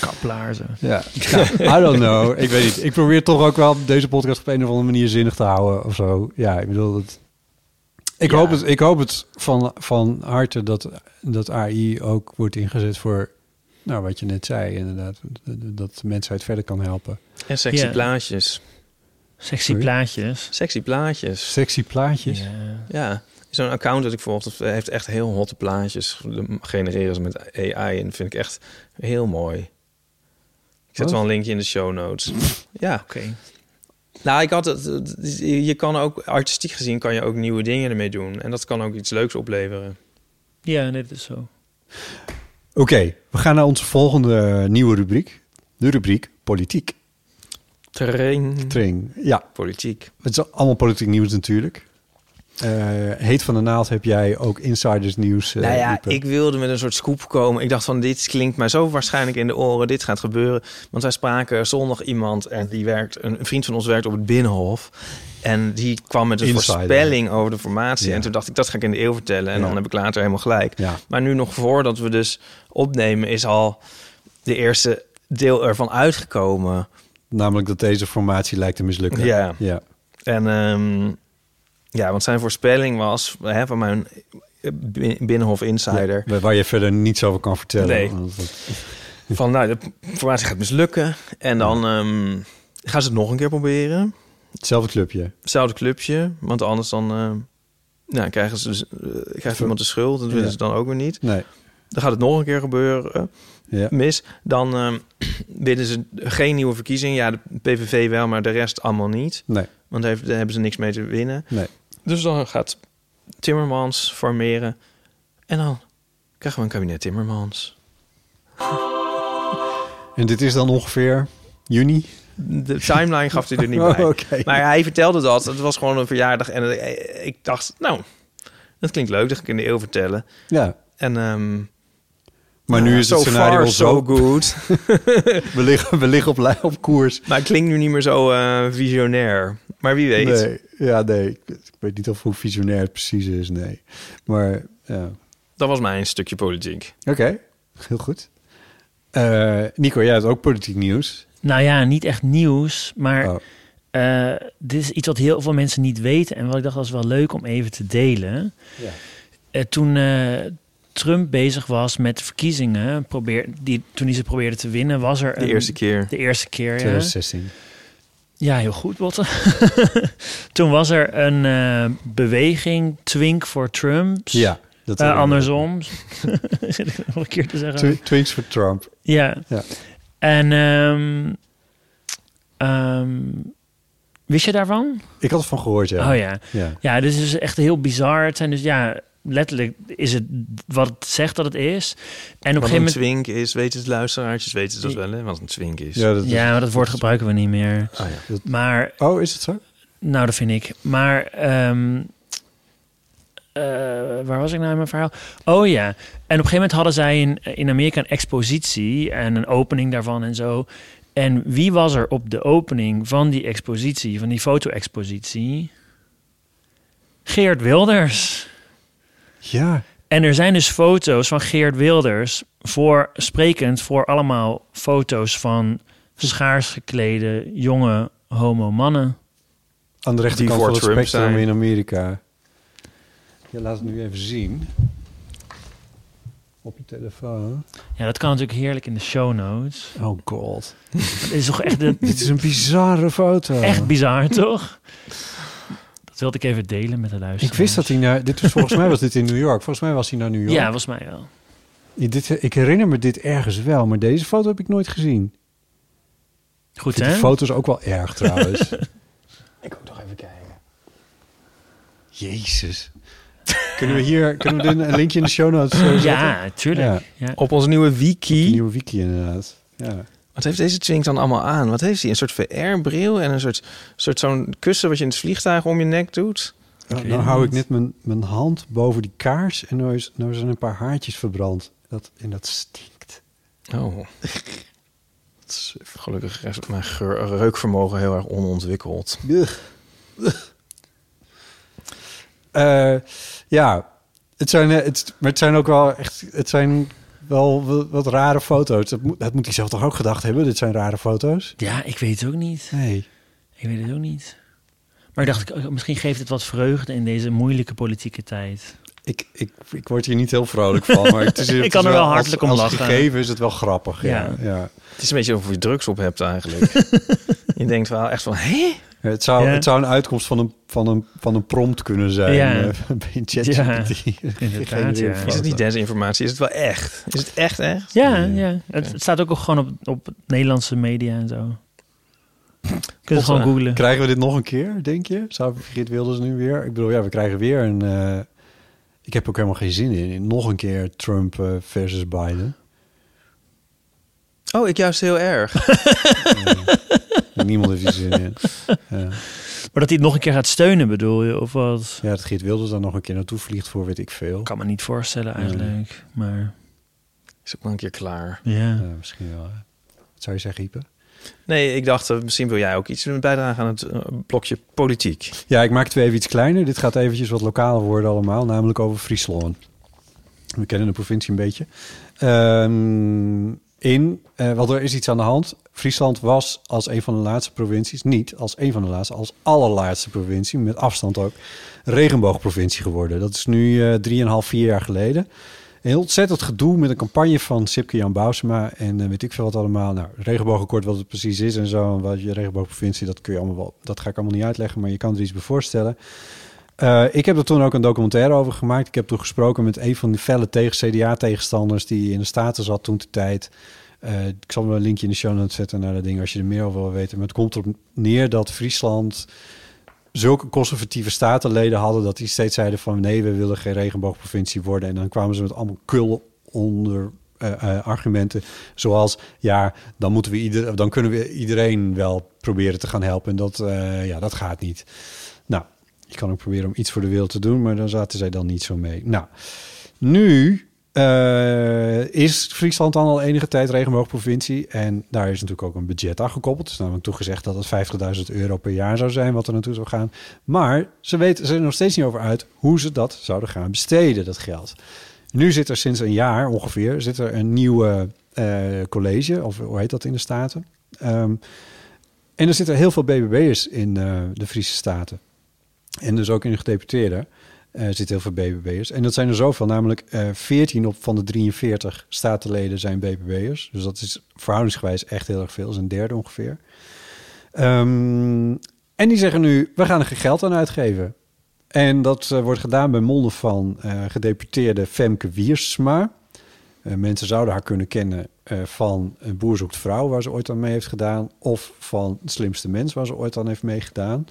S4: Kaplaarzen.
S3: Ja. Nou, I don't know. Ik weet niet. Ik probeer toch ook wel deze podcast op een of andere manier zinnig te houden of zo. Ja, ik bedoel, dat, Ik, hoop het, ik hoop het van, van harte dat, dat AI ook wordt ingezet voor, nou wat je net zei inderdaad, dat de mensheid verder kan helpen.
S5: En sexy
S4: Ja.
S5: plaatjes.
S4: Sexy
S3: Sorry?
S4: plaatjes.
S5: Sexy plaatjes.
S3: Sexy plaatjes.
S5: Ja. Zo'n account dat ik volg, dat heeft echt heel hotte plaatjes. De- Genereren ze met AI en dat vind ik echt heel mooi. Ik zet
S3: Wat?
S5: wel een linkje in de show notes. ja.
S4: Oké.
S5: Nou, ik had het, je kan ook, artistiek gezien, kan je ook nieuwe dingen ermee doen. En dat kan ook iets leuks opleveren.
S4: Ja, dit is zo.
S3: Oké, we gaan naar onze volgende nieuwe rubriek. De rubriek politiek.
S5: Terrein.
S3: Tring. Ja,
S5: Politiek.
S3: Het is allemaal politiek nieuws natuurlijk. Eh, heet van de naald heb jij ook insidersnieuws. eh,
S5: nou ja,
S3: Ieper.
S5: ik wilde met een soort scoop komen. Ik dacht van, dit klinkt mij zo waarschijnlijk in de oren. Dit gaat gebeuren. Want wij spraken zondag iemand en die werkt, een vriend van ons werkt op het Binnenhof. En die kwam met een
S3: Insider.
S5: voorspelling over de formatie.
S3: Ja.
S5: En toen dacht ik, dat ga ik in de eeuw vertellen. En
S3: Ja.
S5: dan heb ik later helemaal gelijk.
S3: Ja.
S5: Maar nu nog voordat we dus opnemen, is al de eerste deel ervan uitgekomen.
S3: Namelijk dat deze formatie lijkt te mislukken.
S5: Ja.
S3: ja.
S5: En ehm, ja, want zijn voorspelling was hè, van mijn eh, Bin- Binnenhof Insider.
S3: Waar- Waar je verder niets over kan vertellen.
S5: Nee.
S3: Want dat-
S5: Van nou, de formatie gaat mislukken. En dan ehm, gaan ze het nog een keer proberen.
S3: Hetzelfde clubje.
S5: Hetzelfde clubje. Want anders dan ehm, nou, krijgen ze dus, eh, krijgt iemand de schuld. Dat willen
S3: Ja.
S5: ze dan ook weer niet.
S3: Nee.
S5: Dan gaat het nog een keer gebeuren.
S3: Ja.
S5: Mis. Dan ehm, [clears throat] willen ze geen nieuwe verkiezing. Ja, de PVV wel, maar de rest allemaal niet.
S3: Nee.
S5: Want daar, heeft, daar hebben ze niks mee te winnen.
S3: Nee.
S5: Dus dan gaat Timmermans formeren. En dan krijgen we een kabinet Timmermans.
S3: En dit is dan ongeveer juni.
S5: De timeline gaf hij
S3: [laughs]
S5: er niet bij.
S3: Oh, oké.
S5: [laughs] Maar hij vertelde dat. Het was gewoon een verjaardag. En eh, ik dacht, nou, dat klinkt leuk. Dat ga ik in de eeuw vertellen.
S3: Ja.
S5: En ehm,
S3: Maar nu
S5: nou,
S3: is
S5: so
S3: het scenario
S5: far,
S3: wel
S5: so
S3: zo.
S5: good.
S3: [laughs]
S5: [laughs]
S3: We liggen, we liggen op, lijn- op koers.
S5: maar het klinkt nu niet meer zo eh, visionair. Maar wie weet.
S3: Nee. Ja, nee. Ik, ik weet niet of hoe visionair het precies is. Nee. Maar ja.
S5: Dat was mijn stukje politiek.
S3: Oké. Heel goed. Eh, Nico, jij hebt ook politiek nieuws.
S4: Nou ja, niet echt nieuws, maar
S3: Oh.
S4: eh, dit is iets wat heel veel mensen niet weten. En wat ik dacht was wel leuk om even te delen. Eh, toen eh, Trump bezig was met de verkiezingen, probeer, die, toen hij ze probeerde te winnen, was er
S5: De
S4: een-
S5: eerste keer.
S4: De eerste keer, ja.
S3: 2016.
S4: Ja, heel goed, Botte. [laughs] Toen was er een eh, beweging, Twink voor Trump.
S3: Ja. Dat
S4: Eh, andersom. [laughs] Zit ik nog een keer te zeggen.
S3: Twi- Twinks voor Trump.
S4: Ja.
S3: Ja.
S4: En ehm, ehm, wist je daarvan?
S3: Ik had ervan gehoord, ja.
S4: Oh ja.
S3: Ja.
S4: Ja, dit is echt heel bizar. Het zijn dus ja, letterlijk is het wat het zegt dat het is. En op een
S5: Wat een
S4: gegeven moment...
S5: twink is, weten de luisteraartjes, weten ze dat wel, hè? Wat een twink is.
S3: Ja, dat is-
S4: Ja, maar dat woord gebruiken we niet meer.
S3: ah, ja. Dat-
S4: Maar
S3: oh, is het zo?
S4: Nou, dat vind ik. Maar ehm, eh, waar was ik nou in mijn verhaal? Oh ja. En op een gegeven moment hadden zij in, in Amerika een expositie en een opening daarvan en zo. En wie was er op de opening van die expositie, van die foto-expositie? Geert Wilders.
S3: Ja.
S4: En er zijn dus foto's van Geert Wilders voor, sprekend voor allemaal foto's van schaars geklede jonge homo-mannen.
S3: Aan de rechterkant
S5: Die
S3: van
S5: voor
S3: het
S5: Trump
S3: spectrum
S5: zijn.
S3: in Amerika. Ja, laat het nu even zien. Op je telefoon.
S4: Ja, dat kan natuurlijk heerlijk in de show notes.
S3: Oh god.
S4: Het is toch echt, de-
S3: [laughs] Dit is een eh, bizarre foto.
S4: echt bizar, toch? Dat wilde ik even delen met de
S3: Ik
S4: luisteraars.
S3: wist dat hij naar... Dit was, volgens mij was dit
S4: [laughs]
S3: in New York. Volgens mij was hij naar New York.
S4: Ja, volgens mij wel.
S3: Ja, dit, ik herinner me dit ergens wel, maar deze foto heb ik nooit gezien.
S4: Goed,
S3: De
S4: hè?
S3: foto's ook wel erg trouwens.
S4: [laughs]
S3: ik ook nog even kijken. Jezus. Kunnen we hier kunnen we dit- een linkje in de show notes eh, zetten?
S4: Ja, tuurlijk. Ja.
S5: Op onze nieuwe
S3: Een
S5: wiki.
S3: nieuwe wiki inderdaad. Ja.
S5: Wat heeft deze twink dan allemaal aan? Wat heeft hij? Een soort VR-bril en een soort, soort zo'n kussen wat je in het vliegtuig om je nek doet?
S3: Nou,
S4: weet
S3: nou
S4: het
S3: hou ik
S4: niet.
S3: net mijn, mijn hand boven die kaars en nou, is, nou zijn een paar haartjes verbrand. Dat, en dat stinkt.
S5: Oh. Dat is gelukkig is mijn geur, reukvermogen heel erg onontwikkeld.
S3: Ugh. Ugh. Eh, ja, het zijn, eh, het, maar het zijn ook wel echt, het zijn wel wa- wat rare foto's. Dat moet, dat moet hij zelf toch ook gedacht hebben, dit zijn rare foto's?
S4: ja, ik weet het ook niet.
S3: Nee.
S4: Ik weet het ook niet. Maar ik dacht, oh, misschien geeft het wat vreugde in deze moeilijke politieke tijd.
S3: [laughs] Ik, ik, ik word hier niet heel vrolijk van, maar [laughs] het is,
S4: Ik
S3: het
S4: kan
S3: is
S4: er wel hartelijk
S3: als,
S4: om
S3: als
S4: lachen.
S3: gegeven is het wel grappig, ja.
S4: Ja.
S3: ja.
S5: Het is een beetje of je drugs op hebt [laughs] eigenlijk. je denkt wel echt van, hé?
S3: Ja, Het, zou,
S4: Ja.
S3: het zou een uitkomst van een, van een, van een prompt kunnen zijn
S4: Ja.
S3: eh, [laughs] bij ChatGPT.
S4: Inderdaad, ja.
S5: Is het niet desinformatie? Is het wel echt? Is het echt echt?
S4: Ja, ja. Het, het staat ook al gewoon op, op Nederlandse media en zo. [laughs] Kun je het gewoon
S5: eh,
S4: googlen.
S3: Krijgen we dit nog een keer, denk je? Zou Geert Wilders nu weer? Ik bedoel, ja, we krijgen weer een... eh, ik heb ook helemaal geen zin in. in nog een keer Trump eh, versus
S4: [laughs]
S3: Biden.
S5: Oh, ik juist heel erg.
S3: Niemand heeft hier zin in. Ja.
S4: Maar dat hij het nog een keer gaat steunen, bedoel je? Of wat?
S3: ja, dat Geert Wilders dan nog een keer naartoe vliegt voor weet ik veel.
S4: kan me niet voorstellen eigenlijk. Maar
S5: Is ook wel een keer klaar.
S4: ja.
S3: Ja, Eh, misschien wel. hè. Wat zou je zeggen, Ipe?
S5: Nee, ik dacht, eh, misschien wil jij ook iets bijdragen aan het eh, blokje politiek.
S3: Ja, ik maak het weer even iets kleiner. Dit gaat eventjes wat lokaler worden allemaal, namelijk over Friesland. We kennen de provincie een beetje. Ehm, in, eh want er is iets aan de hand. Friesland was als een van de laatste provincies, niet als een van de laatste, als allerlaatste provincie, met afstand ook, regenboogprovincie geworden. Dat is nu eh drieënhalf, vier jaar geleden. Een heel ontzettend gedoe met een campagne van Sipke Jan Bousema en eh, weet ik veel wat allemaal. Nou, regenboogakkoord, wat het precies is en zo. En wat je regenboogprovincie, dat kun je allemaal wel. Dat ga ik allemaal niet uitleggen, maar je kan er iets bij voorstellen. Eh, ik heb er toen ook een documentaire over gemaakt. Ik heb toen gesproken met een van de felle tegen CDA-tegenstanders die in de Staten zat toen de tijd. Eh, ik zal wel een linkje in de show notes zetten naar dat ding als je er meer over wil weten. Maar het komt erop neer dat Friesland zulke conservatieve statenleden hadden dat die steeds zeiden van nee, we willen geen regenboogprovincie worden. En dan kwamen ze met allemaal kul onder eh, eh, argumenten. Zoals ja, dan moeten we ieder, dan kunnen we iedereen wel proberen te gaan helpen. En dat, eh, ja, dat gaat niet. Nou, je kan ook proberen om iets voor de wereld te doen, maar daar zaten zij dan niet zo mee. Nou, nu eh, is Friesland dan al enige tijd regenboogprovincie. En daar is natuurlijk ook een budget aan gekoppeld. Er is namelijk toegezegd dat het 50.000 euro per jaar zou zijn wat er naartoe zou gaan. Maar ze weten ze er nog steeds niet over uit hoe ze dat zouden gaan besteden, dat geld. Nu zit er sinds een jaar ongeveer zit er een nieuwe eh, college, of hoe heet dat in de Staten? Ehm, en er zitten heel veel BBB'ers in eh, de Friese Staten. En dus ook in de gedeputeerden eh zitten heel veel BBB'ers. En dat zijn er zoveel, namelijk eh 14 op van de 43 statenleden zijn BBB'ers. Dus dat is verhoudingsgewijs echt heel erg veel, dat is een derde ongeveer. Ehm, en die zeggen nu, we gaan er geen geld aan uitgeven. En dat eh, wordt gedaan bij monden van eh, gedeputeerde Femke Wiersma. Eh, mensen zouden haar kunnen kennen eh, van een Boer zoekt vrouw, waar ze ooit aan mee heeft gedaan. Of van het slimste mens, waar ze ooit aan heeft meegedaan.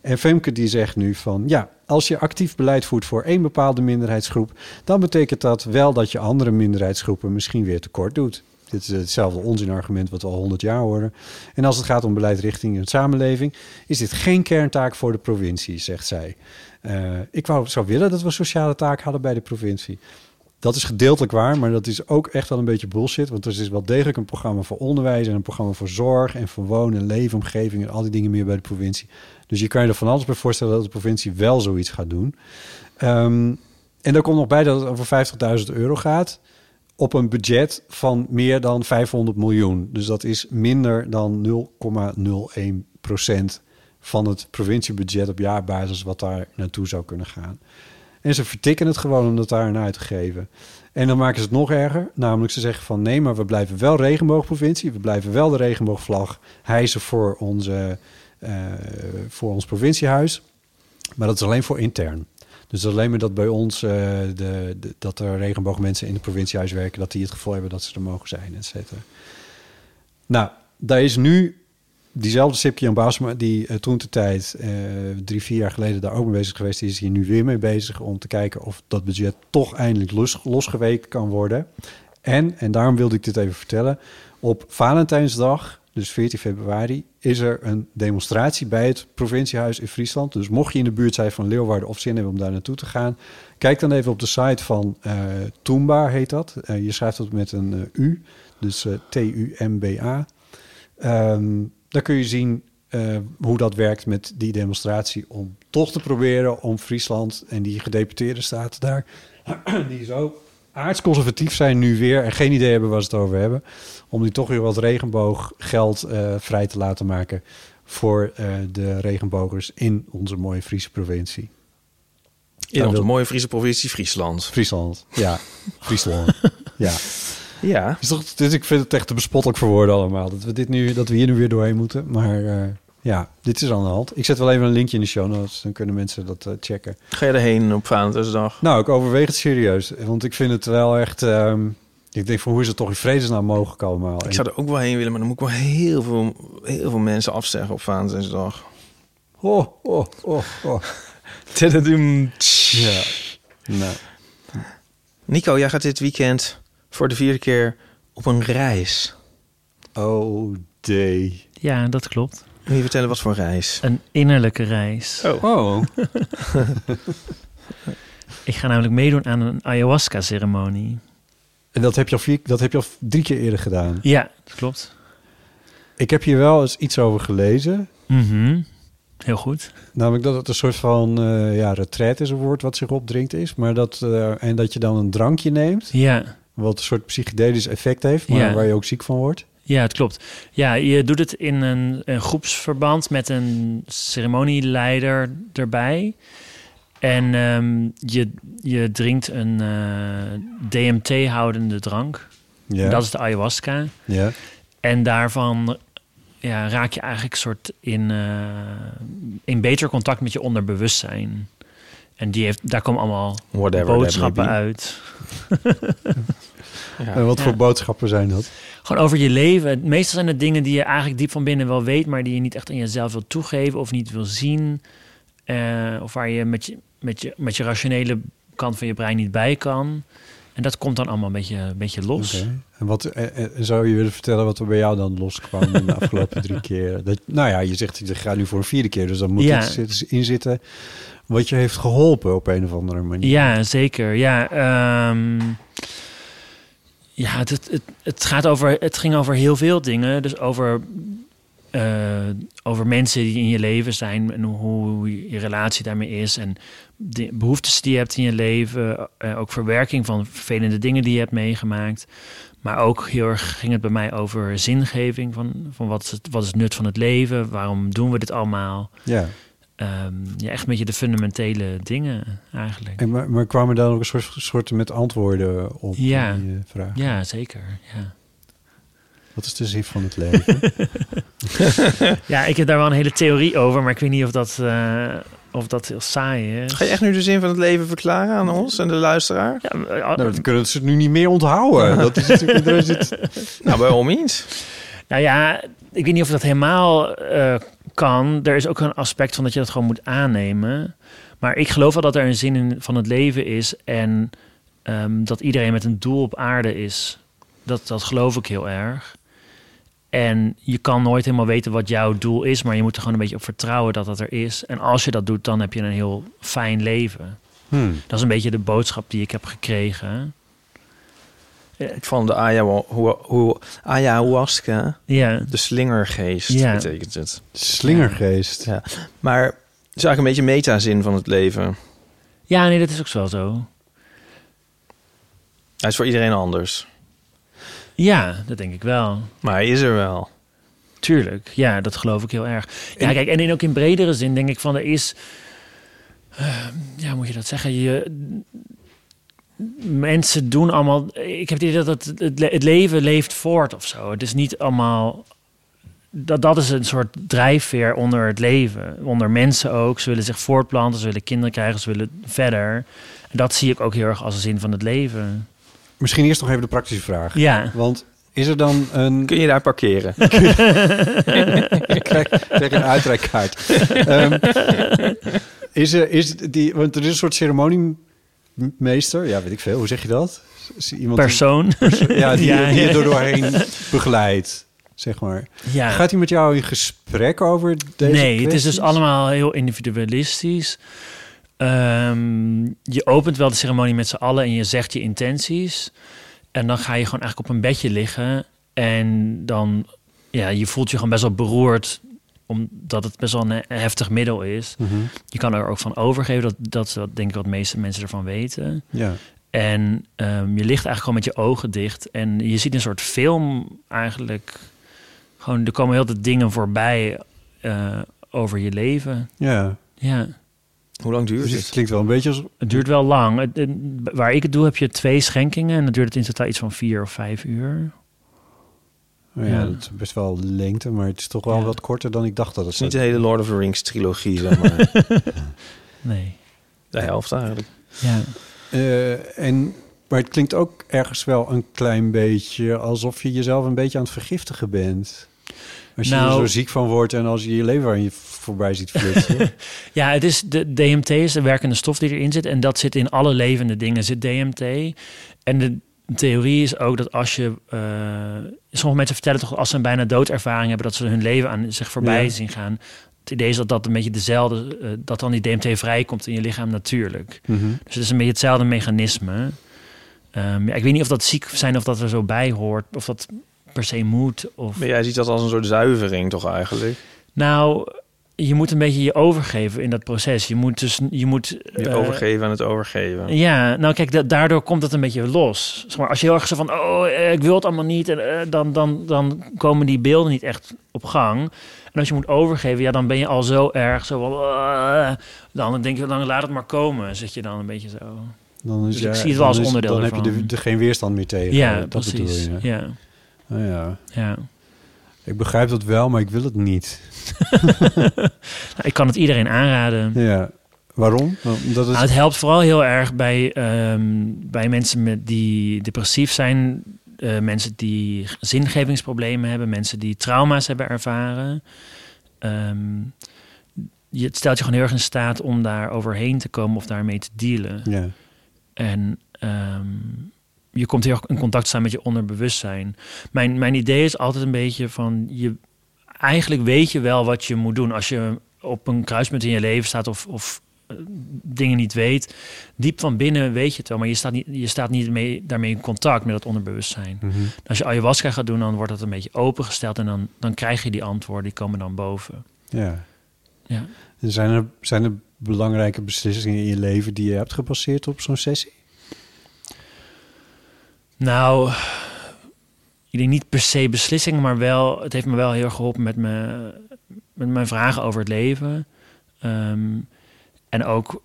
S3: En Femke die zegt nu van ja, als je actief beleid voert voor één bepaalde minderheidsgroep, dan betekent dat wel dat je andere minderheidsgroepen misschien weer tekort doet. Dit is hetzelfde onzinargument wat we al 100 jaar horen. En als het gaat om beleid richting een samenleving, is dit geen kerntaak voor de provincie, zegt zij. Eh, ik wou, zou willen dat we een sociale taak hadden bij de provincie. Dat is gedeeltelijk waar, maar dat is ook echt wel een beetje bullshit. Want er is wel degelijk een programma voor onderwijs en een programma voor zorg en voor wonen, leefomgeving en al die dingen meer bij de provincie. Dus je kan je er van alles bij voorstellen dat de provincie wel zoiets gaat doen. Ehm, en daar komt nog bij dat het over 50.000 euro gaat op een budget van meer dan 500 miljoen. Dus dat is minder dan 0,01 procent van het provinciebudget op jaarbasis wat daar naartoe zou kunnen gaan. En ze vertikken het gewoon om dat daarin uit te geven. En dan maken ze het nog erger. Namelijk ze zeggen van nee, maar we blijven wel regenboogprovincie. We blijven wel de regenboogvlag hijsen voor, onze, eh, voor ons provinciehuis. Maar dat is alleen voor intern. Dus alleen maar dat bij ons eh, de, de- dat er regenboogmensen in het provinciehuis werken, dat die het gevoel hebben dat ze er mogen zijn, et cetera. Nou, daar is nu diezelfde Sipke Jan Bousma, die eh, toen de tijd, eh, drie, vier jaar geleden daar ook mee bezig geweest, die is hier nu weer mee bezig om te kijken of dat budget toch eindelijk los, losgeweken kan worden. En, en daarom wilde ik dit even vertellen, op Valentijnsdag, dus 14 februari, is er een demonstratie bij het provinciehuis in Friesland. Dus mocht je in de buurt zijn van Leeuwarden of zin hebben om daar naartoe te gaan, kijk dan even op de site van eh Toomba, heet dat. Eh, je schrijft dat met een eh, U, dus eh, T-U-M-B-A. Ehm dan kun je zien eh, hoe dat werkt met die demonstratie. Om toch te proberen om Friesland en die gedeputeerde staten daar, [clears throat] die zo aardsconservatief zijn nu weer en geen idee hebben waar ze het over hebben, om die toch weer wat regenbooggeld eh vrij te laten maken voor eh, de regenbogers in onze mooie Friese provincie.
S5: In onze
S3: wil-
S5: mooie Friese provincie Friesland.
S3: Friesland, ja. Friesland, ja.
S5: Ja.
S3: Is toch, dus ik vind het echt te bespottelijk voor woorden allemaal. Dat we, dit nu, dat we hier nu weer doorheen moeten. Maar eh, ja, dit is aan de hand. Ik zet wel even een linkje in de show notes. Dan kunnen mensen dat eh, checken.
S5: Ga je erheen op Valentijnsdag?
S3: Nou, ik overweeg het serieus. Want ik vind het wel echt... ehm, ik denk van hoe is het toch in vredesnaam mogelijk allemaal?
S5: Ik zou er ook wel heen willen, maar dan moet ik wel heel veel, heel veel mensen afzeggen op Valentijnsdag.
S3: Oh, oh, oh, oh.
S5: Tidadum.
S3: Ja. Nou,
S5: Nico, jij gaat dit weekend voor de vierde keer op een reis.
S3: oh, day.
S4: Ja, dat klopt.
S5: Wil je vertellen wat voor reis?
S4: Een innerlijke reis.
S3: Oh,
S4: Ik ga namelijk meedoen aan een ayahuasca-ceremonie.
S3: en dat heb, je al vier, dat heb je al drie keer eerder gedaan.
S4: Ja, dat klopt.
S3: Ik heb hier wel eens iets over gelezen.
S4: Mhm. Heel goed.
S3: Namelijk dat het een soort van eh ja, retraite is een woord wat zich opdringt is. Maar dat, eh, en dat je dan een drankje neemt,
S4: Ja.
S3: wat een soort psychedelisch effect heeft, maar
S4: Ja.
S3: waar je ook ziek van wordt.
S4: Ja, het klopt. Ja, je doet het in een, een groepsverband met een ceremonieleider erbij. En ehm, je, je drinkt een eh, DMT-houdende drank.
S3: Ja,
S4: Dat is de ayahuasca.
S3: ja.
S4: En daarvan ja, raak je eigenlijk soort in, eh, in beter contact met je onderbewustzijn. En die heeft, daar komen allemaal
S5: Whatever that
S4: boodschappen
S5: may be.
S4: uit.
S3: En wat
S4: Ja.
S3: voor boodschappen zijn dat?
S4: Gewoon over je leven. Meestal zijn het dingen die je eigenlijk diep van binnen wel weet, maar die je niet echt aan jezelf wil toegeven of niet wil zien. Eh, of waar je met je, met, je, met je rationele kant van je brein niet bij kan. En dat komt dan allemaal een beetje, een beetje los.
S3: Oké. En wat eh, eh, zou je willen vertellen wat er bij jou dan loskwam
S4: [laughs]
S3: in de afgelopen drie keer? Dat, nou ja, je zegt, ik ga nu voor een vierde keer, dus dan moet
S4: Ja.
S3: iets zit- in zitten wat je heeft geholpen op een of andere manier.
S4: Ja, zeker. Ja, ehm, ja het, het, het- het, gaat over, het ging over heel veel dingen. Dus over, eh, over mensen die in je leven zijn en hoe je relatie daarmee is. En de behoeftes die je hebt in je leven. Eh, ook verwerking van vervelende dingen die je hebt meegemaakt. Maar ook heel erg ging het bij mij over zingeving. Van, van wat, is het, wat is het nut van het leven? Waarom doen we dit allemaal?
S3: ja.
S4: Ehm, ja, echt een beetje de fundamentele dingen eigenlijk.
S3: En, maar, maar kwamen daar ook een soort, soort met antwoorden op
S4: Ja.
S3: die eh, vraag?
S4: Ja, zeker. Ja.
S3: Wat is de zin van het leven?
S4: [laughs] ja, ik heb daar wel een hele theorie over, maar ik weet niet of dat, eh, of dat heel saai is.
S5: Ga je echt nu de zin van het leven verklaren aan ons en de luisteraar?
S4: Ja, eh, al-
S3: Nou, dat kunnen ze nu niet meer onthouden. Dat is
S4: [laughs]
S3: natuurlijk iedereen zit...
S5: Nou, bij all means.
S4: nou ja, ik weet niet of dat helemaal eh, kan. Er is ook een aspect van dat je dat gewoon moet aannemen. Maar ik geloof wel dat er een zin in, van het leven is en ehm, dat iedereen met een doel op aarde is. Dat, dat geloof ik heel erg. En je kan nooit helemaal weten wat jouw doel is, maar je moet er gewoon een beetje op vertrouwen dat dat er is. En als je dat doet, dan heb je een heel fijn leven.
S3: Hmm.
S4: Dat is een beetje de boodschap die ik heb gekregen.
S5: Van de ayahu- hu- hu- ayahuasca,
S4: Ja,
S5: de slingergeest
S4: Ja.
S5: betekent het.
S3: Slingergeest.
S5: Ja. Maar het is eigenlijk een beetje metazin van het leven.
S4: ja nee, dat is ook wel zo.
S5: Hij is voor iedereen anders.
S4: Ja, dat denk ik wel.
S5: Maar hij is er wel.
S4: Tuurlijk, ja, dat geloof ik heel erg. Ja, kijk, en in, ook in bredere zin denk ik van er is. eh, ja, moet je dat zeggen? Je, mensen doen allemaal. Ik heb het idee dat het, het, le- het leven leeft voort of zo. Het is niet allemaal. Dat, dat is een soort drijfveer onder het leven. Onder mensen ook. Ze willen zich voortplanten, ze willen kinderen krijgen, ze willen verder. En dat zie ik ook heel erg als een zin van het leven.
S3: Misschien eerst nog even de praktische vraag.
S4: Ja.
S3: Want is er dan een...
S5: Kun je daar
S4: [laughs]
S5: parkeren? [laughs]
S3: krijg, krijg [laughs] een uitreikkaart. Ehm, is er, is die, want er is een soort ceremoniemeester. Ja, weet ik veel. Hoe zeg je dat? Is iemand die-
S4: Persoon.
S3: ja, die,
S4: Ja,
S3: die
S4: ja.
S3: je er doorheen begeleidt, zeg maar.
S4: [laughs] Ja.
S3: Gaat hij met jou in gesprek over deze
S4: nee, het is dus
S3: kwesties?
S4: allemaal heel individualistisch. Ehm, je opent wel de ceremonie met z'n allen en je zegt je intenties. En dan ga je gewoon eigenlijk op een bedje liggen. En dan, ja, je voelt je gewoon best wel beroerd omdat het best wel een heftig middel is.
S3: Mhm.
S4: Je kan er ook van overgeven. Dat, dat is wat, denk ik wat de meeste mensen ervan weten.
S3: Ja.
S4: En ehm, je ligt eigenlijk gewoon met je ogen dicht. En je ziet een soort film eigenlijk. Gewoon, er komen heel veel dingen voorbij eh, over je leven.
S3: Ja.
S4: Ja.
S5: Hoe lang duurt
S3: Dus het klinkt wel een beetje als...
S4: Het duurt wel lang. Het- het- waar ik het doe, heb je twee schenkingen. En dan duurt het in totaal iets van vier of vijf uur.
S3: Ja,
S4: Ja.
S3: dat is best wel lengte, maar het is toch wel
S4: Ja.
S3: wat korter dan ik dacht dat het
S5: Het is niet
S3: zou
S5: de hele Lord of the Rings trilogie, zeg maar.
S4: Nee.
S5: de helft eigenlijk.
S4: Ja.
S3: Eh, en, maar het klinkt ook ergens wel een klein beetje alsof je jezelf een beetje aan het vergiftigen bent. Als je
S4: Nou.
S3: er zo ziek van wordt en als je je leven aan je voorbij ziet
S4: [laughs]
S3: flitsen.
S4: Ja, het is de DMT is de werkende stof die erin zit. En dat zit in alle levende dingen, zit DMT. En de theorie is ook dat als je... eh, sommige mensen vertellen toch als ze een bijna doodervaring hebben... dat ze hun leven aan zich voorbij
S3: Ja.
S4: zien gaan. Het idee is dat dat een beetje dezelfde... eh, dat dan die DMT vrijkomt in je lichaam natuurlijk.
S3: Mhm.
S4: Dus het is een beetje hetzelfde mechanisme. Ehm, ja, ik weet niet of dat ziek zijn of dat er zo bij hoort. Of dat per se moet. Of...
S5: Maar jij ziet dat als een soort zuivering toch eigenlijk?
S4: Nou, je moet een beetje je overgeven in dat proces. Je moet dus... Je moet,
S5: Je
S4: eh,
S5: overgeven aan het overgeven.
S4: Ja, nou kijk, da- daardoor komt het een beetje los. Zeg maar, als je heel erg zo van, oh, eh, ik wil het allemaal niet, en, eh, dan, dan, dan komen die beelden niet echt op gang. En als je moet overgeven, ja, dan ben je al zo erg, zo van, eh, dan denk je, dan laat het maar komen, zit je dan een beetje zo.
S3: Dan is,
S4: Dus ik
S3: ja,
S4: zie het wel
S3: dan
S4: als
S3: is-
S4: onderdeel
S3: Dan heb je
S4: ervan.
S3: er, er geen weerstand meer tegen.
S4: Ja,
S3: dat
S4: precies.
S3: bedoel je.
S4: Ja,
S3: Oh ja.
S4: ja. [laughs]
S3: Ik begrijp dat wel, maar ik wil het niet.
S4: Nou, ik kan het iedereen aanraden.
S3: Ja. Waarom? Omdat het...
S4: Nou, het helpt vooral heel erg bij, ehm, bij mensen met die depressief zijn, eh, mensen die zingevingsproblemen hebben, mensen die trauma's hebben ervaren. Ehm, je, het stelt je gewoon heel erg in staat om daar overheen te komen of daarmee te dealen.
S3: Ja.
S4: En ehm, je komt heel erg in contact te staan met je onderbewustzijn. Mijn, mijn idee is altijd een beetje van... Je, eigenlijk weet je wel wat je moet doen. Als je op een kruispunt in je leven staat of, of eh, dingen niet weet. Diep van binnen weet je het wel. Maar je staat niet, je staat niet mee, daarmee in contact met dat onderbewustzijn.
S3: Mhm.
S4: Als je ayahuasca gaat doen, dan wordt dat een beetje opengesteld. En dan, dan krijg je die antwoorden. Die komen dan boven.
S3: ja.
S4: Ja.
S3: En Zijn, er, zijn er belangrijke beslissingen in je leven die je hebt gebaseerd op zo'n sessie?
S4: Nou, ik denk niet per se beslissingen, maar wel, het heeft me wel heel erg geholpen met, me, met mijn vragen over het leven. Ehm, en ook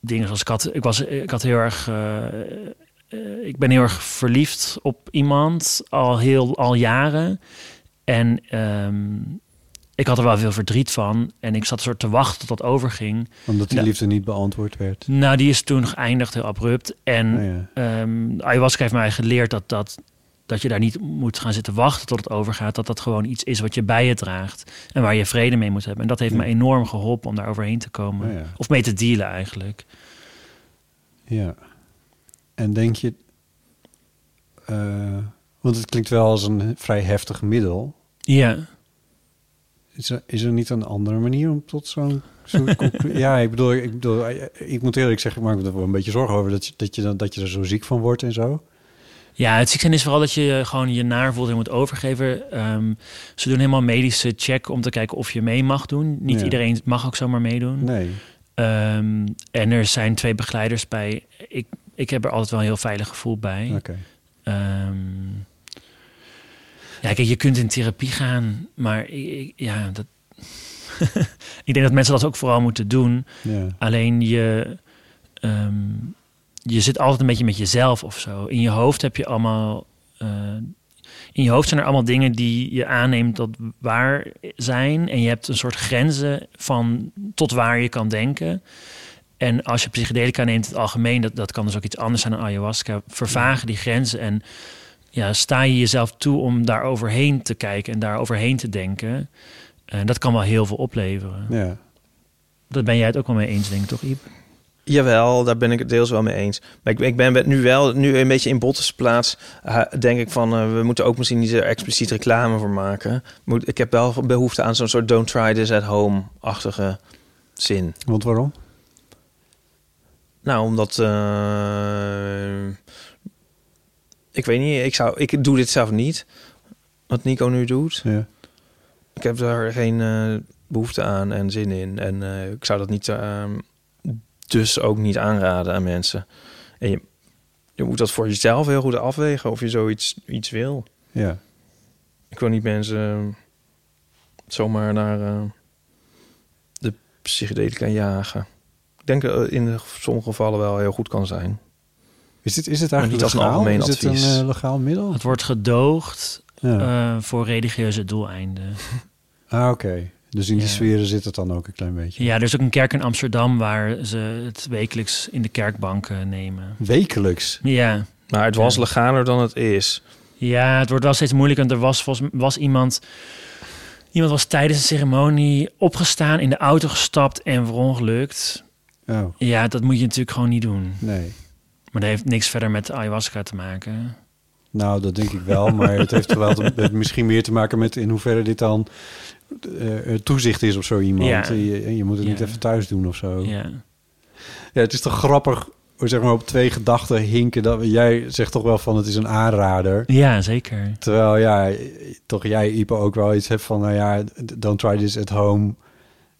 S4: dingen zoals ik had, ik was, ik had heel erg, eh, eh, ik ben heel erg verliefd op iemand al heel, al jaren. En ehm, ik had er wel veel verdriet van. En ik zat soort te wachten tot dat overging.
S3: Omdat die
S4: Ja.
S3: liefde niet beantwoord werd.
S4: Nou, die is toen geëindigd heel abrupt. En
S3: Oh ja.
S4: ehm ayahuasca heeft mij geleerd dat, dat, dat je daar niet moet gaan zitten wachten tot het overgaat. Dat dat gewoon iets is wat je bij je draagt en waar je vrede mee moet hebben. En dat heeft
S3: Ja.
S4: me enorm geholpen om daar overheen te komen.
S3: Oh ja.
S4: Of mee te dealen eigenlijk.
S3: Ja. En denk je... eh, want het klinkt wel als een vrij heftig middel.
S4: Ja.
S3: Is er, is er niet een andere manier om tot zo'n soort conclu- ja, ik bedoel, ik bedoel, eh, ik moet eerlijk zeggen, ik maak me er wel een beetje zorgen over dat je, dat, je, dan- dat je er zo ziek van wordt en zo.
S4: Ja, het ziek zijn is vooral dat je gewoon je naarvoeling moet overgeven. Ehm, ze doen helemaal medische check om te kijken of je mee mag doen. Niet
S3: Ja.
S4: iedereen mag ook zomaar meedoen.
S3: Nee.
S4: Ehm, en er zijn twee begeleiders bij. Ik, ik heb er altijd wel een heel veilig gevoel bij.
S3: Oké.
S4: Ehm, ja, kijk, je kunt in therapie gaan, maar ik, ik- ja, dat, [laughs] ik denk dat mensen dat ook vooral moeten doen.
S3: Ja.
S4: Alleen je, ehm, je zit altijd een beetje met jezelf of zo. In je hoofd heb je allemaal. eh, in je hoofd zijn er allemaal dingen die je aanneemt dat waar zijn. En je hebt een soort grenzen van tot waar je kan denken. En als je psychedelica neemt in het algemeen, dat, dat kan dus ook iets anders zijn dan ayahuasca, vervagen die grenzen en ja, sta je jezelf toe om daar overheen te kijken en daar overheen te denken. En dat kan wel heel veel opleveren.
S3: Ja.
S4: Dat ben jij het ook wel mee eens, denk ik, toch, Iep?
S5: Jawel, daar ben ik het deels wel mee eens. Maar ik, ik ben met- nu wel nu een beetje in Bottes plaats. eh, denk ik van, eh, we moeten ook misschien niet er expliciet reclame voor maken. Moet, ik heb wel behoefte aan zo'n soort don't try this at home-achtige zin.
S3: Want waarom?
S5: Nou, omdat... eh, ik weet niet, ik, zou, ik doe dit zelf niet. Wat Nico nu doet.
S3: Ja.
S5: ik heb daar geen eh, behoefte aan en zin in. En eh, ik zou dat niet, ehm, dus ook niet aanraden aan mensen. En je, je moet dat voor jezelf heel goed afwegen of je zoiets iets wil.
S3: Ja.
S5: Ik wil niet mensen eh, zomaar naar eh, psychedelica jagen. Ik denk dat het in sommige gevallen wel heel goed kan zijn.
S3: Is dit, is het
S5: Maar niet
S3: eigenlijk
S5: als een
S3: legaal?
S5: algemeen
S3: is het
S5: advies.
S3: een eh, legaal middel?
S4: Het wordt gedoogd eh, voor religieuze doeleinden.
S3: Ah, oké. Dus in die
S4: Ja.
S3: sferen zit het dan ook een klein beetje.
S4: Ja, er is ook een kerk in Amsterdam waar ze het wekelijks in de kerkbanken nemen.
S3: Wekelijks.
S4: Ja.
S5: Maar het was legaler dan het is.
S4: Ja, het wordt wel steeds moeilijker. want Er was, volgens- was iemand. Iemand was tijdens de ceremonie opgestaan, in de auto gestapt en verongelukt.
S3: Oh,
S4: Ja, dat moet je natuurlijk gewoon niet doen.
S3: nee.
S4: Maar dat heeft niks verder met ayahuasca te maken.
S3: Nou, dat denk ik wel. Maar het heeft wel te- het misschien meer te maken met in hoeverre dit dan eh, toezicht is op zo iemand.
S4: Ja.
S3: Je, je moet het niet
S4: Ja.
S3: even thuis doen of zo.
S4: Ja.
S3: Ja, het is toch grappig, zeg maar, op twee gedachten hinken. Dat, jij zegt toch wel van het is een aanrader.
S4: ja, zeker.
S3: Terwijl ja, toch jij, Ipe, ook wel iets hebt van, nou ja, don't try this at home.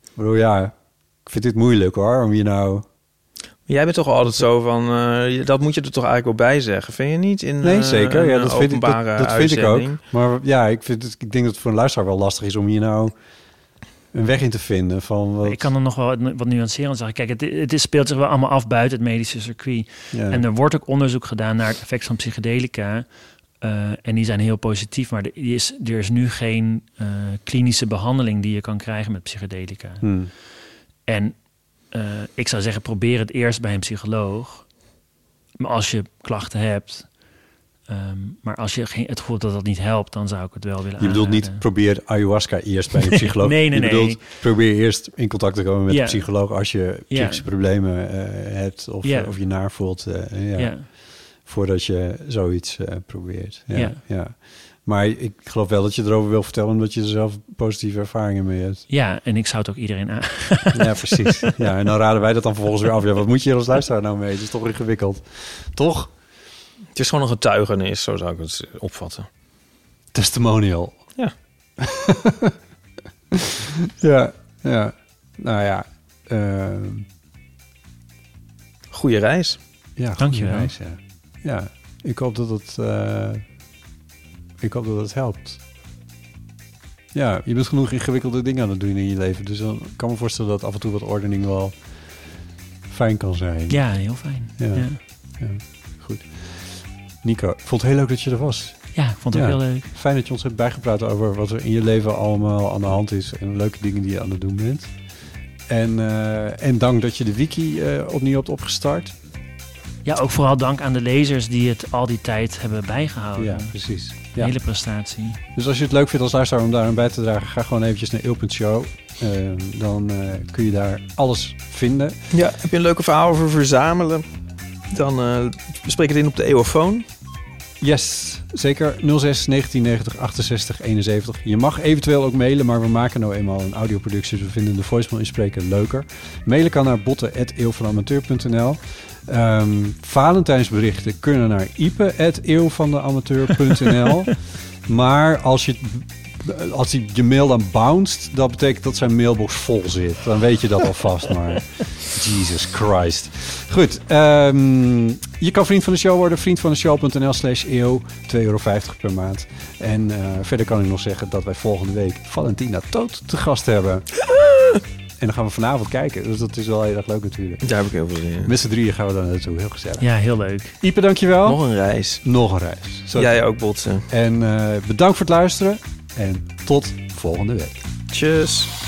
S3: Ik bedoel, ja, ik vind dit moeilijk hoor, om je nou...
S5: Maar Jij bent toch altijd zo van, eh, je- dat moet je er toch eigenlijk wel bij zeggen, vind je niet? In,
S3: Nee,
S5: eh,
S3: zeker. Ja,
S5: een
S3: dat vind, ik, dat,
S5: openbare
S3: dat vind ik ook.
S5: uitzending?
S3: Maar ja, ik, vind het, ik denk dat het voor een luisteraar wel lastig is om hier nou een weg in te vinden. Van wat,
S4: Ik kan er nog wel wat wat nuancerend zeggen. Kijk, het, het is, speelt zich wel allemaal af buiten het medische circuit.
S3: ja.
S4: En er wordt ook onderzoek gedaan naar het effect van psychedelica. eh, en die zijn heel positief, maar er is, er is nu geen eh, klinische behandeling die je kan krijgen met psychedelica.
S3: Hm.
S4: En eh, ik zou zeggen, probeer het eerst bij een psycholoog. Maar als je klachten hebt. ehm, maar als je geen, het gevoel hebt dat dat niet helpt, dan zou ik het wel willen
S3: Je bedoelt niet,
S4: aanraden.
S3: probeer ayahuasca eerst
S4: [laughs]
S3: bij een psycholoog.
S4: nee, nee,
S3: je
S4: nee.
S3: bedoelt, probeer eerst in contact te komen met
S4: Ja.
S3: een psycholoog als je
S4: Ja.
S3: psychische problemen eh, hebt of,
S4: Ja.
S3: eh, of je naar voelt. eh, ja.
S4: Ja.
S3: Voordat je zoiets eh, probeert. Ja, ja.
S4: Ja.
S3: Maar ik geloof wel dat je erover wil vertellen, omdat je er zelf positieve ervaringen mee hebt.
S4: ja, en ik zou het ook iedereen aan.
S3: [laughs]
S4: [laughs]
S3: Ja, precies. Ja, en dan raden wij dat dan vervolgens weer af. Ja, wat moet je hier als luisteraar nou mee? Het is toch ingewikkeld. Toch?
S5: Het is gewoon een getuigenis, zo zou ik het opvatten.
S3: Testimonial.
S5: Ja.
S3: [laughs] ja, ja. Nou ja. ehm,
S5: Goeie reis.
S3: ja goede
S4: Dankjewel.
S3: reis, ja. ja, ik hoop dat het, eh, ik hoop dat het helpt. Ja, je bent genoeg ingewikkelde dingen aan het doen in je leven. Dus dan kan ik me voorstellen dat af en toe wat ordening wel fijn kan zijn.
S4: Ja, heel fijn.
S3: Ja.
S4: Ja, ja.
S3: Nico, ik vond het heel leuk dat je er was.
S4: ik vond
S3: Ja.
S4: het ook heel leuk.
S3: Fijn dat je ons hebt bijgepraat over wat er in je leven allemaal aan de hand is en leuke dingen die je aan het doen bent. En, eh, en dank dat je de wiki eh, opnieuw hebt opgestart.
S4: Ja, ook vooral dank aan de lezers die het al die tijd hebben bijgehouden.
S3: ja, precies.
S4: Een
S3: Ja.
S4: Hele prestatie.
S3: Dus als je het leuk vindt als luisteraar om daar aan bij te dragen, ga gewoon eventjes naar il.show. Eh, dan eh, kun je daar alles vinden.
S5: Ja, heb je een leuke verhaal over verzamelen? Dan eh, bespreek het in op de eeuwofoon.
S3: Yes, zeker 06 1990 68 71. Je mag eventueel ook mailen, maar we maken nou eenmaal een audioproductie. Dus we vinden de voicemail inspreken leuker. Mailen kan naar botten.eeuwvanamateur.nl Ehm Valentijnsberichten kunnen naar ipe.eeuwvandeamateur.nl Maar als je... Als die je mail dan bounced, dat betekent dat zijn mailbox vol zit. Dan weet je dat alvast maar. Jesus Christ. Goed, ehm, je kan vriend van de show worden. Vriendvandeshow.nl slash eeuw. 2,50 euro per maand. En eh, verder kan ik nog zeggen dat wij volgende week Valentina Toot te gast hebben. en dan gaan we vanavond kijken. Dus dat is wel heel erg leuk natuurlijk.
S5: Daar heb ik heel veel zin in.
S3: Met z'n drieën gaan we daar naartoe. Heel gezellig.
S4: Ja, heel leuk.
S3: Ipe, dankjewel.
S5: Nog een reis.
S3: Nog een reis. Zo.
S5: Jij ook, Botsen.
S3: En eh, bedankt voor het luisteren. En tot volgende week.
S5: Tjus.